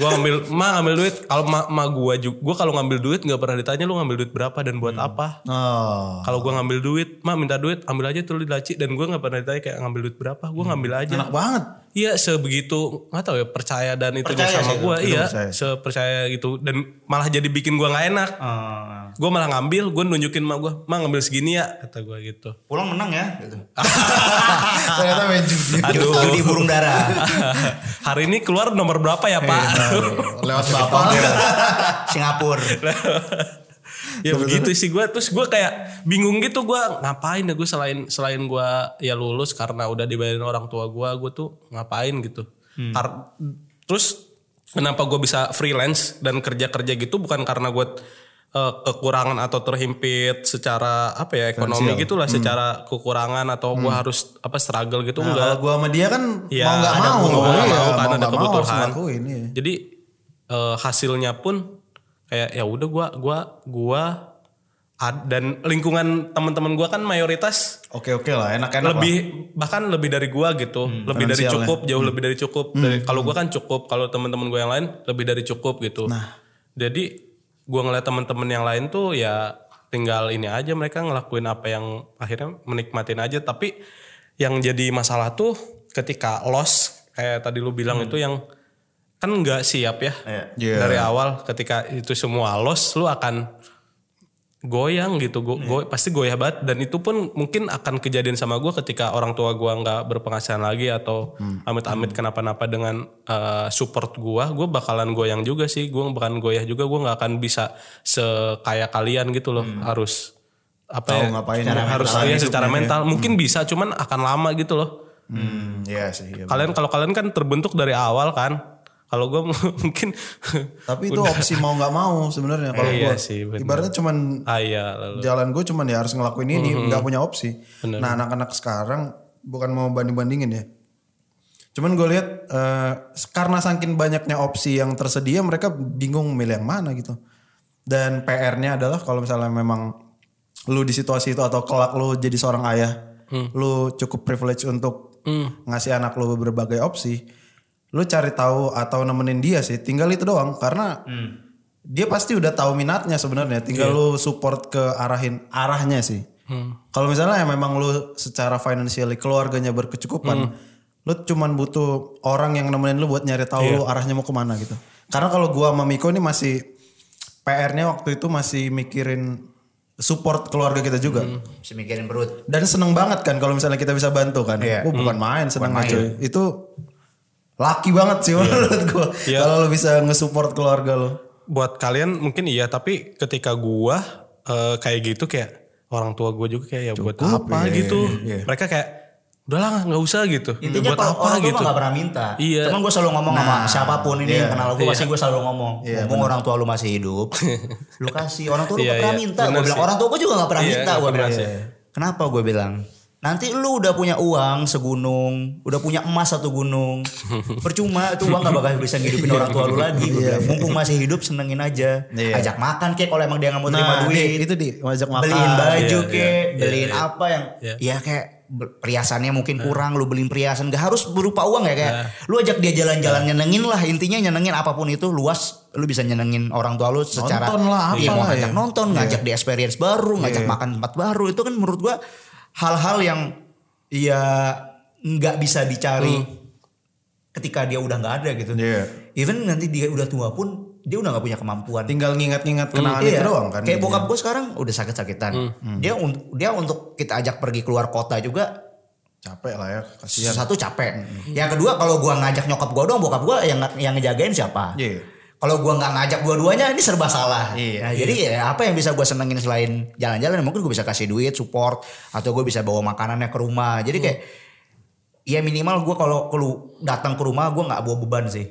gua ngambil ma ngambil duit kalau ma, ma gua juga gua kalau ngambil duit nggak pernah ditanya lu ngambil duit berapa dan buat apa Hmm. Oh. kalau gua ngambil duit ma minta duit ambil aja tuh di laci dan gua nggak pernah ditanya kayak ngambil duit berapa gua ngambil aja Hmm. Enak banget. Iya sebegitu nggak tahu ya percaya dan itu Percaya sama sih, gua itu iya percaya. sepercaya gitu dan malah jadi bikin gua nggak enak Eh, Oh. gua malah ngambil gua nunjukin ma gua ma ngambil segini ya kata gua gitu (laughs) pulang menang ya. Gitu. Ternyata main judi. Aduh. Judi burung darah. hari ini keluar nomor berapa ya pak Iya, (laughs) Lewat bapak. Singapura. (laughs) ya begitu sih gue terus gue kayak bingung gitu gue ngapain ya gue selain selain gue ya lulus karena udah dibayarin orang tua gue gue tuh ngapain gitu Har- terus kenapa gue bisa freelance dan kerja kerja gitu bukan karena gue kekurangan atau terhimpit secara apa ya ekonomi gitulah secara kekurangan atau gue harus apa struggle gitu enggak Kalau gua sama dia kan Iya, mau nggak ada mau. mau Iya, nggak mau kan, ada nggak harus kebutuhan. ngelakuin, iya. Jadi eh, hasilnya pun kayak ya udah gua gua gua ad- dan lingkungan teman-teman gua kan mayoritas Oke oke lah, kan? enak-enak lah. lebih bahkan lebih dari gua gitu, lebih finansial dari ya. Hmm, cukup, jauh lebih dari cukup. Dari- kalau gua kan cukup, kalau teman-teman gua yang lain lebih dari cukup gitu. Nah. Jadi gua ngeliat teman-teman yang lain tuh ya tinggal ini aja mereka ngelakuin apa yang akhirnya menikmatin aja tapi yang jadi masalah tuh ketika loss kayak tadi lu bilang itu yang kan nggak siap ya Hmm. Iya. dari awal ketika itu semua loss lu akan goyang gitu go, Hmm. go- pasti goyah banget dan itu pun mungkin akan kejadian sama gua ketika orang tua gua nggak berpenghasilan lagi atau Hmm. amit-amit kenapa-napa dengan eh, support gua gua bakalan goyang juga sih gua bakalan goyah juga gua nggak akan bisa sekaya kalian gitu loh harus apa Hmm. Tahu ya, ngapain, harus mentalnya iya, hidupnya secara ya. mental mungkin bisa cuman akan lama gitu loh Hmm, iya sih. iya. kalian kalau kalian kan terbentuk dari awal kan kalau gue (laughs) mungkin Tapi itu opsi mau nggak mau sebenarnya kalau gua. Iya sih, bener. ibaratnya cuman ah iya lalu jalan gue cuman ya harus ngelakuin ini nggak punya opsi nah anak-anak sekarang bukan mau banding-bandingin ya cuman gue lihat eh, karena saking banyaknya opsi yang tersedia mereka bingung milih yang mana gitu dan PR-nya adalah kalau misalnya memang lu di situasi itu atau kelak lu jadi seorang ayah lu cukup privilege untuk ngasih anak lu berbagai opsi lu cari tahu atau nemenin dia sih tinggal itu doang karena dia pasti udah tahu minatnya sebenarnya tinggal lu support ke arahin arahnya sih kalau misalnya ya memang lu secara financially keluarganya berkecukupan lu cuman butuh orang yang nemenin lu buat nyari tahu lu arahnya mau kemana gitu karena kalau gua sama Miko ini masih PR-nya waktu itu masih mikirin support keluarga kita juga Mesti mikirin perut. dan seneng banget kan kalau misalnya kita bisa bantu kan. Iya. Oh, bukan main seneng aja. Itu laki banget Iya. sih menurut gua. Kalau lu bisa nge-support keluarga lu. buat kalian mungkin iya tapi ketika gua eh, kayak gitu kayak orang tua gua juga kayak ya buat apa gitu mereka kayak udahlah nggak usah gitu Intinya buat kalau apa orang tua gitu mah gak pernah minta. Iya. Nah, Cuman gue selalu ngomong sama siapapun ini yang kenal gue pasti gue selalu ngomong. Ngomong orang tua lu masih (laughs) hidup. lu kasih orang tua lu Iya, gak pernah iya. minta. Gue Bener bilang sih. orang tua gue juga gak pernah Iya, minta. nggak Gue pernah bilang. sih. Kenapa gue bilang? Nanti lu udah punya uang segunung, udah punya emas satu (laughs) gunung. Percuma itu uang gak bakal bisa ngidupin Iya. orang tua lu lagi. Gue bilang, mumpung masih hidup senengin aja. Iya. Ajak makan kek kalau emang dia gak mau Nah, terima di, duit itu di ngajak makan. beliin baju Iya, ke, iya, beliin iya, apa yang Iya. ya kayak ber- perhiasannya mungkin kurang lu beliin perhiasan gak harus berupa uang ya kayak lu ajak dia jalan-jalan nyenengin lah intinya nyenengin apapun itu luas lu bisa nyenengin orang tua lu secara Nonton lah, Iya, apalah mau ngajak ya. nonton ngajak di experience baru ngajak makan tempat baru itu kan menurut gua hal-hal yang ya nggak bisa dicari ketika dia udah nggak ada gitu Iya. even nanti dia udah tua pun dia udah nggak punya kemampuan Tinggal ngingat-ngingat kenangan itu Iya, doang kan. Hmm. Kayak gitu. bokap gue sekarang udah sakit-sakitan. Hmm. Dia un- dia untuk kita ajak pergi keluar kota juga Capek lah ya, kasihan. satu capek. Hmm. Yang kedua kalau gua ngajak nyokap gua doang, bokap gua yang yang ngejagain siapa? Iya. Kalau gua nggak ngajak dua-duanya ini serba salah. Iya, Nah, Jadi ya apa yang bisa gua senengin selain jalan-jalan? ya Mungkin gua bisa kasih duit, support, atau gua bisa bawa makanannya ke rumah. Hmm. Jadi kayak ya minimal gua kalau kelu datang ke rumah gua nggak bawa beban sih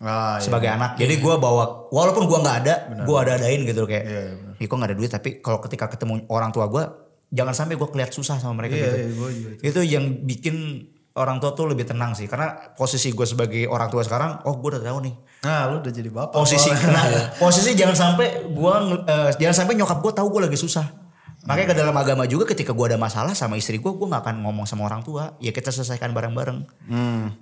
Ah, iya. sebagai anak. Jadi gua bawa gitu Iya, walaupun gua nggak ada, gua ada adain gitu loh kayak. Iko nggak ada duit tapi kalau ketika ketemu orang tua gua, jangan sampai gue keliat susah sama mereka Iya, gitu. iya, gua juga itu yang bikin orang tua tuh lebih tenang sih karena posisi gue sebagai orang tua sekarang oh gue udah tahu nih Nah, lu udah jadi bapak. posisi Wal. kena posisi jangan sampai gua ngel- eh, jangan sampai nyokap gua tahu gua lagi susah makanya ke dalam agama juga ketika gua ada masalah sama istri gua gua nggak akan ngomong sama orang tua ya kita selesaikan bareng-bareng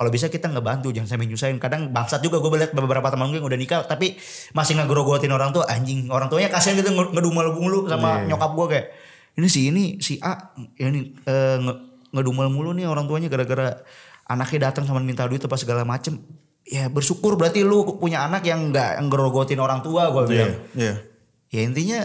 kalau bisa kita ngebantu jangan sampai nyusahin kadang bangsat juga gue lihat beberapa teman gue yang udah nikah tapi masih ngegrogotin orang tua anjing orang tuanya kasihan gitu nge- ngedumel mulu sama nyokap gua kayak ini si ini si A ini eh, nge- ngedumel mulu nih orang tuanya gara-gara anaknya datang sama minta duit apa segala macem ya bersyukur berarti lu punya anak yang nggak ngerogotin orang tua gue bilang Iya. ya intinya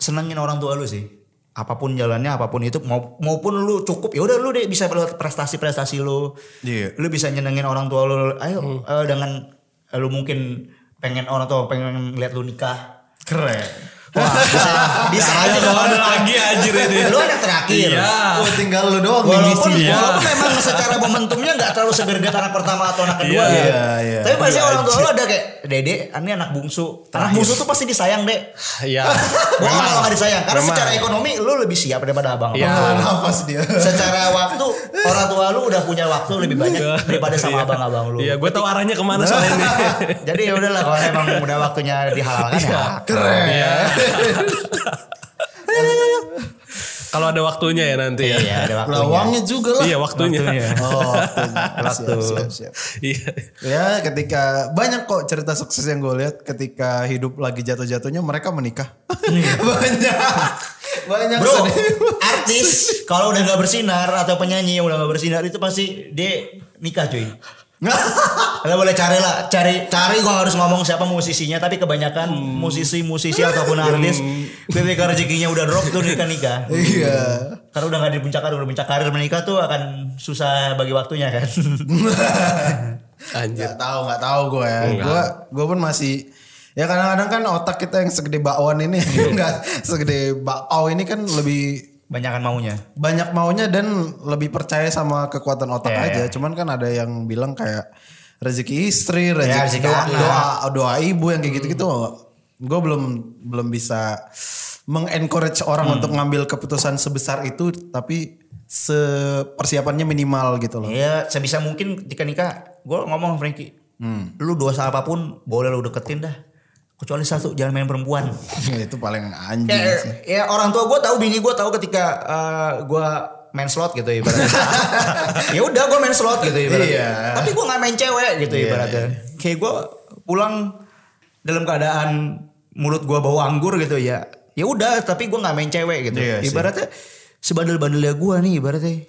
senengin orang tua lu sih apapun jalannya apapun itu mau- maupun lu cukup ya udah lu deh bisa lewat prestasi-prestasi lu Iya. lu bisa nyenengin orang tua lu ayo eh, dengan eh, lu mungkin pengen orang tua pengen lihat lu nikah Keren. Wah, bisa, bisa aja Ada dong Ah, lagi anjir ini. lu anak terakhir Iya. Oh, tinggal lu doang nih Ah. Walaupun, ngisi. Iya. walaupun memang secara momentumnya gak terlalu segerget anak pertama atau anak kedua Iya, ya. iya. Tapi pasti orang tua lo ada kayak, Dede, ini anak bungsu. Anak bungsu tuh pasti disayang, Dek. (laughs) Iya. Bohong Memang. kalau gak disayang. Karena Memang. secara ekonomi lo lebih siap daripada abang. Iya. Abang. Ah, Nafas dia. (laughs) Secara waktu, orang tua lo udah punya waktu lebih banyak daripada sama abang-abang lo. Iya, gue tahu arahnya kemana soalnya (laughs) ini. Jadi ya udahlah kalau emang udah waktunya dihalalkan ya. Keren. Iya. Kalau ada waktunya ya nanti ya. Iya, ada waktunya. Lawangnya juga lah. Iya, waktunya. (laughs) Oh, waktunya. Waktu. Siap, siap, siap. Iya. Ya ketika banyak kok cerita sukses yang gue lihat ketika hidup lagi jatuh-jatuhnya mereka menikah. (laughs) banyak. Banyak Bro, sedih. (laughs) artis kalau udah gak bersinar atau penyanyi yang udah gak bersinar itu pasti dia nikah cuy. Iya. Lo boleh cari lah, cari cari gua harus ngomong siapa musisinya, tapi kebanyakan musisi-musisi ataupun artis ketika rezekinya udah drop tuh nikah nikah. Iya. Karena udah gak di puncak karir, udah puncak karir menikah tuh akan susah bagi waktunya kan. Anjir. Gak tahu, gak tahu gue ya. Gue gue pun masih ya kadang-kadang kan otak kita yang segede bakwan ini (laughs) enggak segede bakpao ini kan lebih Banyakan maunya. banyak maunya dan lebih percaya sama kekuatan otak Iya, aja. iya. Cuman kan ada yang bilang kayak rezeki istri, rezeki Ya, rezeki doa, anak. Hmm. doa doa ibu yang kayak gitu-gitu. Gue belum belum bisa mengencourage Hmm. orang untuk ngambil keputusan sebesar itu tapi sepersiapannya minimal gitu loh. Iya, sebisa mungkin ketika nikah, gua ngomong sama Frankie, lu dosa apapun boleh lu deketin dah, kecuali satu jangan main perempuan. (laughs) itu paling anjing Ya, sih. ya orang tua gue tahu, bini gue tahu ketika gue main slot gitu ibaratnya. (laughs) ya udah gue main slot gitu ibaratnya. Iya. Tapi gue nggak main cewek gitu Iya, ibaratnya. Kayak gue pulang dalam keadaan mulut gue bau anggur gitu ya. Ya udah, tapi gue nggak main cewek gitu. Iya sih. ibaratnya sebandel-bandelnya gue nih ibaratnya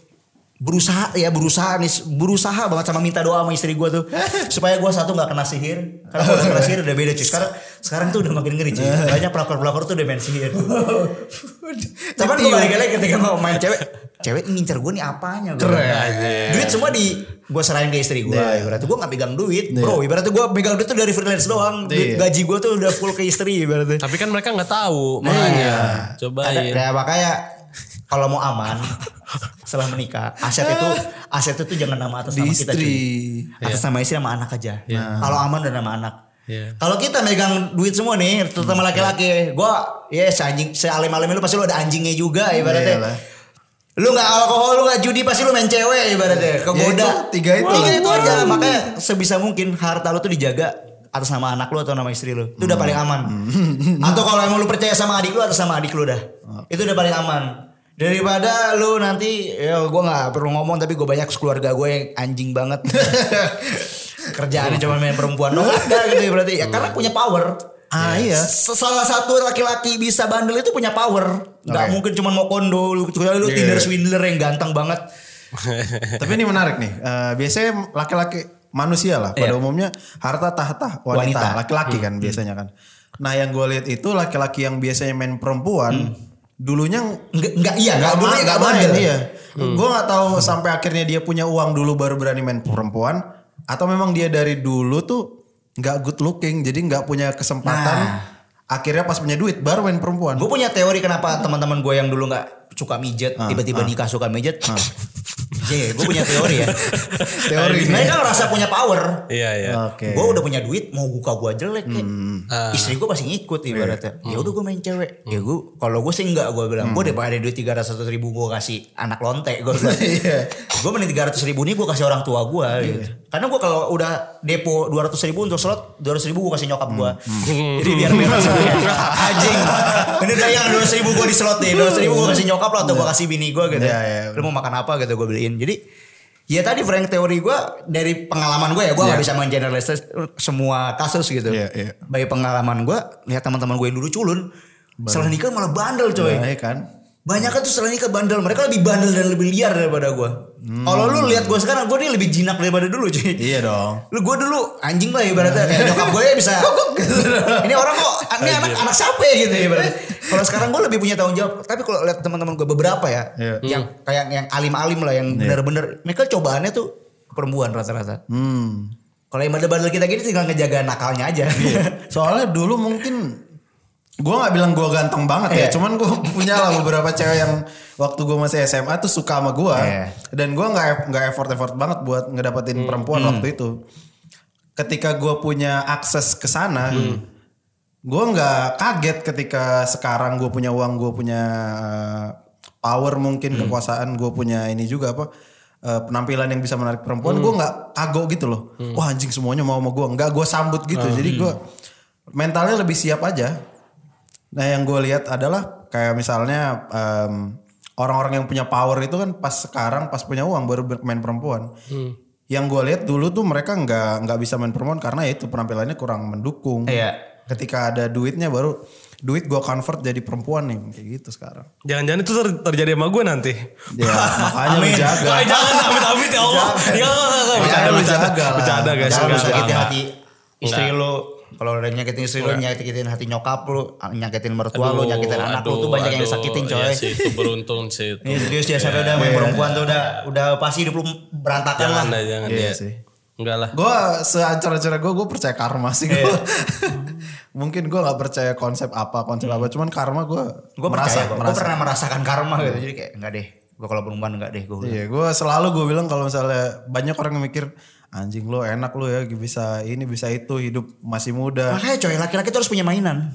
berusaha ya berusaha nih berusaha banget sama minta doa sama istri gue (laughs) tuh supaya gue satu nggak kena sihir karena kalau kena sihir udah beda cuy sekarang sekarang tuh udah (laughs) makin ngeri cuy banyak pelakor pelakor tuh udah main sihir cuman gue balik lagi ketika mau main cewek cewek ngincer gue nih apanya gue duit semua di gue serahin ke istri gue Iya. ibaratnya gue nggak pegang duit bro ibaratnya gue pegang duit tuh dari freelance doang Iya. Duit- gaji gue tuh udah full ke istri ibaratnya Tapi kan mereka nggak tahu makanya. Iya. ada, Cobain. ya makanya kalau mau aman setelah menikah aset itu aset itu jangan nama atas Di nama kita istri. cuy. Iya. atas nama istri sama anak aja Nah, kalau aman udah nama anak Iya. kalau kita megang duit semua nih Hmm, terutama iya. laki-laki gua ya seanjing sealim-alimnya lu pasti lu ada anjingnya juga ibaratnya Iya, Iyalah. lu nggak alkohol lu nggak judi pasti lu main cewek ibaratnya kegoda Iya. Ya itu, tiga itu. tiga itu Wow. aja makanya Eh, sebisa mungkin harta lu tuh dijaga atas nama anak lu atau nama istri lu itu udah Hmm. paling aman atau kalau emang lu percaya sama adik lu atau sama adik lu dah Hmm. itu udah paling aman daripada lu nanti ya gue nggak perlu ngomong tapi gue banyak keluarga gue yang anjing banget (laughs) kerjaannya cuma main perempuan doang ada gitu ya berarti ya karena punya power Ah iya. Salah satu laki-laki bisa bandel itu punya power. Oke. Gak Iya. mungkin cuma mau kondo. Lu kecuali lu Tinder swindler yang ganteng banget. Tapi ini menarik nih. Eh, biasanya laki-laki manusia lah pada Iya. umumnya harta tahta wanita, Wanita. laki-laki kan biasanya kan. Nah yang gue lihat itu laki-laki yang biasanya main perempuan dulunya Enggak, enggak iya, enggak nggak dulu ma- enggak nggak bandel. iya. Gue nggak tahu sampai akhirnya dia punya uang dulu baru berani main perempuan atau memang dia dari dulu tuh nggak good looking jadi nggak punya kesempatan. Akhirnya pas punya duit baru main perempuan. Gue (laughs) punya teori kenapa teman-teman gue yang dulu nggak suka mijet, tiba-tiba nikah suka mijet. ya, gue punya teori ya. Teori. Sebenarnya kan rasa punya power. Iya iya. Oke. Hmm. Gue udah punya duit, mau buka gue jelek kayak. Ah. Istri gue masih ngikut ibaratnya. Iya. Ya udah gue main cewek. Ya gue, kalau gue sih enggak gue bilang. Hmm. Gue daripada ada duit 300 ribu gue kasih anak lonte. (laughs) Gue bilang. Iya. gue mending 300 ribu ini gue kasih orang tua gue gitu. Karena gue kalau udah depo 200 ribu untuk slot, 200 ribu gue kasih nyokap gue. Hmm. (laughs) Jadi biar beres. (laughs) Anjing. Ini udah yang 200 ribu gue di slot deh. 200 ribu gue kasih nyokap lah atau gue kasih bini gue gitu. Iya, iya. Lu mau makan apa gitu gue beliin. Jadi Ya tadi Frank teori gue dari pengalaman gue ya gue nggak bisa menggeneralisir semua kasus gitu. Iya, iya. Dari pengalaman gue lihat teman-teman gue yang dulu culun setelah nikah malah bandel coy. Iya kan? Banyak kan tuh setelah nikah bandel mereka lebih bandel dan lebih liar daripada gue. Hmm. Kalau lu lihat gue sekarang gue nih lebih jinak daripada dulu cuy. Iya dong. Lu gue dulu anjing lah ibaratnya kayak (laughs) nyokap gue ya bisa. (laughs) ini orang kok ini anak anak siapa ya gitu (laughs) ibaratnya. Kalau sekarang gue lebih punya tanggung jawab. Tapi kalau lihat teman-teman gue beberapa ya Iya. yang kayak yang alim-alim lah yang Iya. benar-benar mereka cobaannya tuh perempuan rata-rata. Hmm. Kalau yang bandel-bandel kita gini tinggal ngejaga nakalnya aja. Iya. (laughs) Soalnya dulu mungkin gue nggak bilang gue ganteng banget ya, Iya. cuman gue punya lah beberapa cewek yang waktu gue masih SMA tuh suka sama gue, Iya. dan gue nggak nggak effort effort banget buat ngedapetin perempuan waktu itu. Ketika gue punya akses ke sana, gue nggak kaget ketika sekarang gue punya uang, gue punya eh, power mungkin kekuasaan, gue punya ini juga apa eh, penampilan yang bisa menarik perempuan, gue nggak kagok gitu loh. Wah anjing semuanya mau sama gue, nggak gue sambut gitu. Jadi gue mentalnya lebih siap aja. Nah yang gue lihat adalah kayak misalnya em, orang-orang yang punya power itu kan pas sekarang pas punya uang baru ber- main perempuan. Hmm. Yang gue lihat dulu tuh mereka nggak nggak bisa main perempuan karena ya itu penampilannya kurang mendukung. Iya. Ketika ada duitnya baru duit gue convert jadi perempuan nih kayak gitu sekarang. Jangan-jangan itu ter- terjadi sama gue nanti. Ya (laughs) makanya lu jaga. Eh, jangan amit-amit ya Allah. Ya Allah. Bercanda, Makanya lu bercanda. jaga lah. Bercanda guys. Jangan lu enggak, sakitin enggak. hati istri lu. Kalau udah nyakitin istri lu, nyakitin hati nyokap lu, nyakitin mertua lu, Aduh, nyakitin anak lu aduh, tuh banyak yang aduh. disakitin coy. Iya sih, itu beruntung sih (laughs) itu. Ini serius ya, sampai udah main perempuan tuh udah udah pasti hidup lu berantakan Jangan lah. lah, jangan. Iya ya. sih. Enggak lah. Gue seancar-ancar gue, gue percaya karma sih Iya. gue. (laughs) Mungkin gue nggak percaya konsep apa konsep apa, cuman karma gue Gue merasa Hmm. percaya, kok. gue merasa. pernah merasakan karma gitu. Jadi kayak enggak deh, gue kalau perempuan enggak deh gue. Iya, gue selalu gue bilang kalau misalnya banyak orang yang mikir anjing lo enak lo ya bisa ini bisa itu hidup masih muda. Makanya coy, laki-laki tuh harus punya mainan.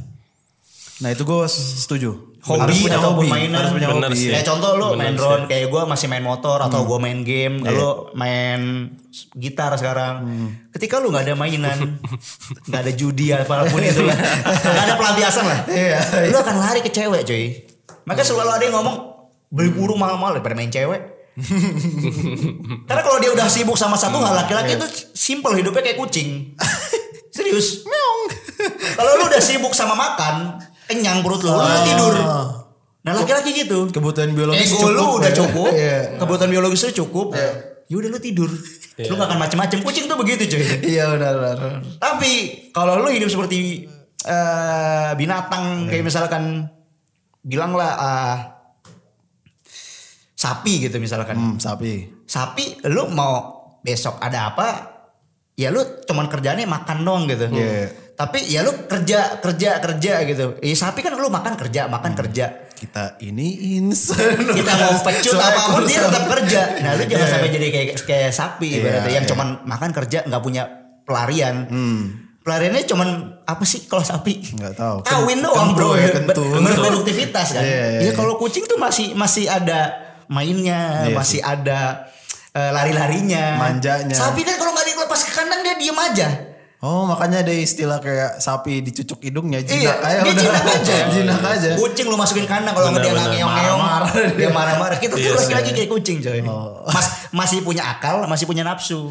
Nah itu gue setuju. Harus Hobi punya ataupun hobi. mainan. Harus punya Bener hobi. sih. iya. Kayak contoh lu Bener main sih. drone, kayak gue masih main motor atau gue main game, lu main gitar sekarang. Ketika lu nggak ada mainan, (laughs) nggak ada judi apapun itu lah, nggak ada pelampiasan lah. Lu akan lari ke cewek cuy. Maka selalu ada yang ngomong beli burung mahal-mahal daripada main cewek. Karena kalau dia udah sibuk sama satu hal laki-laki itu simple hidupnya kayak kucing. (laughs) Serius. Kalau lu udah sibuk sama makan, kenyang perut lu, lu udah Ah. tidur. Nah laki-laki gitu. Kebutuhan biologis Ego lu udah ya. cukup, Iya. kebutuhan biologis lu cukup. Ya udah lu tidur. Lu gak akan macem-macem. Kucing tuh begitu cuy. (laughs) Iya benar benar. Tapi kalau lu hidup seperti eh, Iya. binatang kayak misalkan bilanglah eh, sapi gitu misalkan Hmm, sapi. sapi lu mau besok ada apa ya lu cuman kerjaannya makan doang gitu Iya. tapi ya lu kerja kerja kerja gitu ya sapi kan lu makan kerja makan Hmm. kerja Kita ini insan. (laughs) kita mau pecut Soalnya apapun dia kurang. tetap kerja nah lu jangan Iya. sampai jadi kayak kayak sapi Iya, ibaratnya yang iya. Hmm. cuman makan kerja nggak punya pelarian pelariannya cuman apa sih kalau sapi Nggak tahu. kawin Kent- doang kentut bro ya, Ber- kentut. berproduktivitas kan Iya, iya, ya iya. kalau kucing tuh masih masih ada mainnya Iya masih ada eh, lari-larinya Manjanya. sapi kan kalau nggak dilepas ke kandang dia diem aja Oh makanya ada istilah kayak sapi dicucuk hidungnya jinak iya, aja dia udah. jinak aja. (laughs) Jinak aja. Kucing lu masukin kandang kalau nggak dia nggak ngeong-ngeong, dia marah-marah. Kita tuh laki-laki kayak kucing coy. Mas masih punya akal, masih punya nafsu.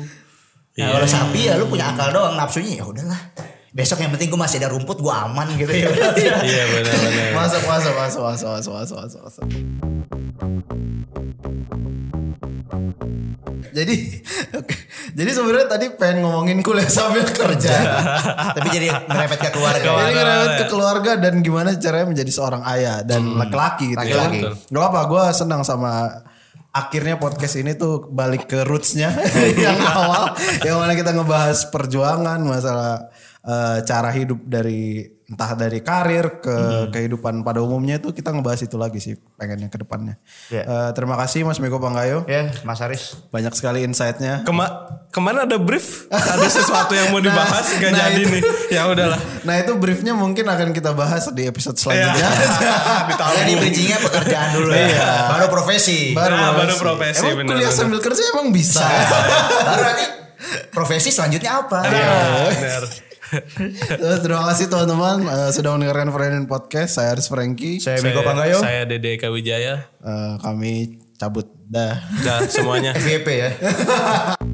Nah, kalau sapi ya lu punya akal doang, nafsunya ya udahlah. Besok yang penting gue masih ada rumput, gue aman gitu ya. Iya benar-benar. Masuk masuk masuk masuk masuk masuk masuk. masuk. Jadi (laughs) oke. jadi sebenarnya tadi pengen ngomongin kuliah sambil (laughs) kerja. (laughs) Tapi jadi merepet ke keluarga. Jadi Keluarga, ngerewet ya. ke keluarga dan gimana caranya menjadi seorang ayah dan laki-laki gitu. Laki-laki. Kan? Gak apa, gue senang sama akhirnya podcast ini tuh (laughs) balik ke rootsnya yang awal yang mana kita ngebahas perjuangan masalah eh, cara hidup dari entah dari karir ke kehidupan pada umumnya itu kita ngebahas itu lagi sih pengennya ke depannya. Iya. Eh, terima kasih Mas Miko Panggayo. Ya, Mas Haris. Banyak sekali insight-nya. Kema kemarin ada brief, ada sesuatu yang mau dibahas gak nah jadi itu. nih. Ya udahlah. Nah itu briefnya mungkin akan kita bahas di episode selanjutnya. (laughs) Jadi Ah, bridgingnya pekerjaan dulu ya. Baru profesi. Nah, baru Iya, profesi. profesi, Emang benar, kuliah benar. sambil kerja emang bisa. Iya. Baru nanti profesi selanjutnya apa? Ya, benar. (laughs) Eh, Terima kasih teman-teman eh, sudah mendengarkan Friend Podcast. Saya Aris Franky. Saya Miko Panggayo. Saya Dede Eka Wijaya Eh, kami cabut dah. dan semuanya. FYP ya.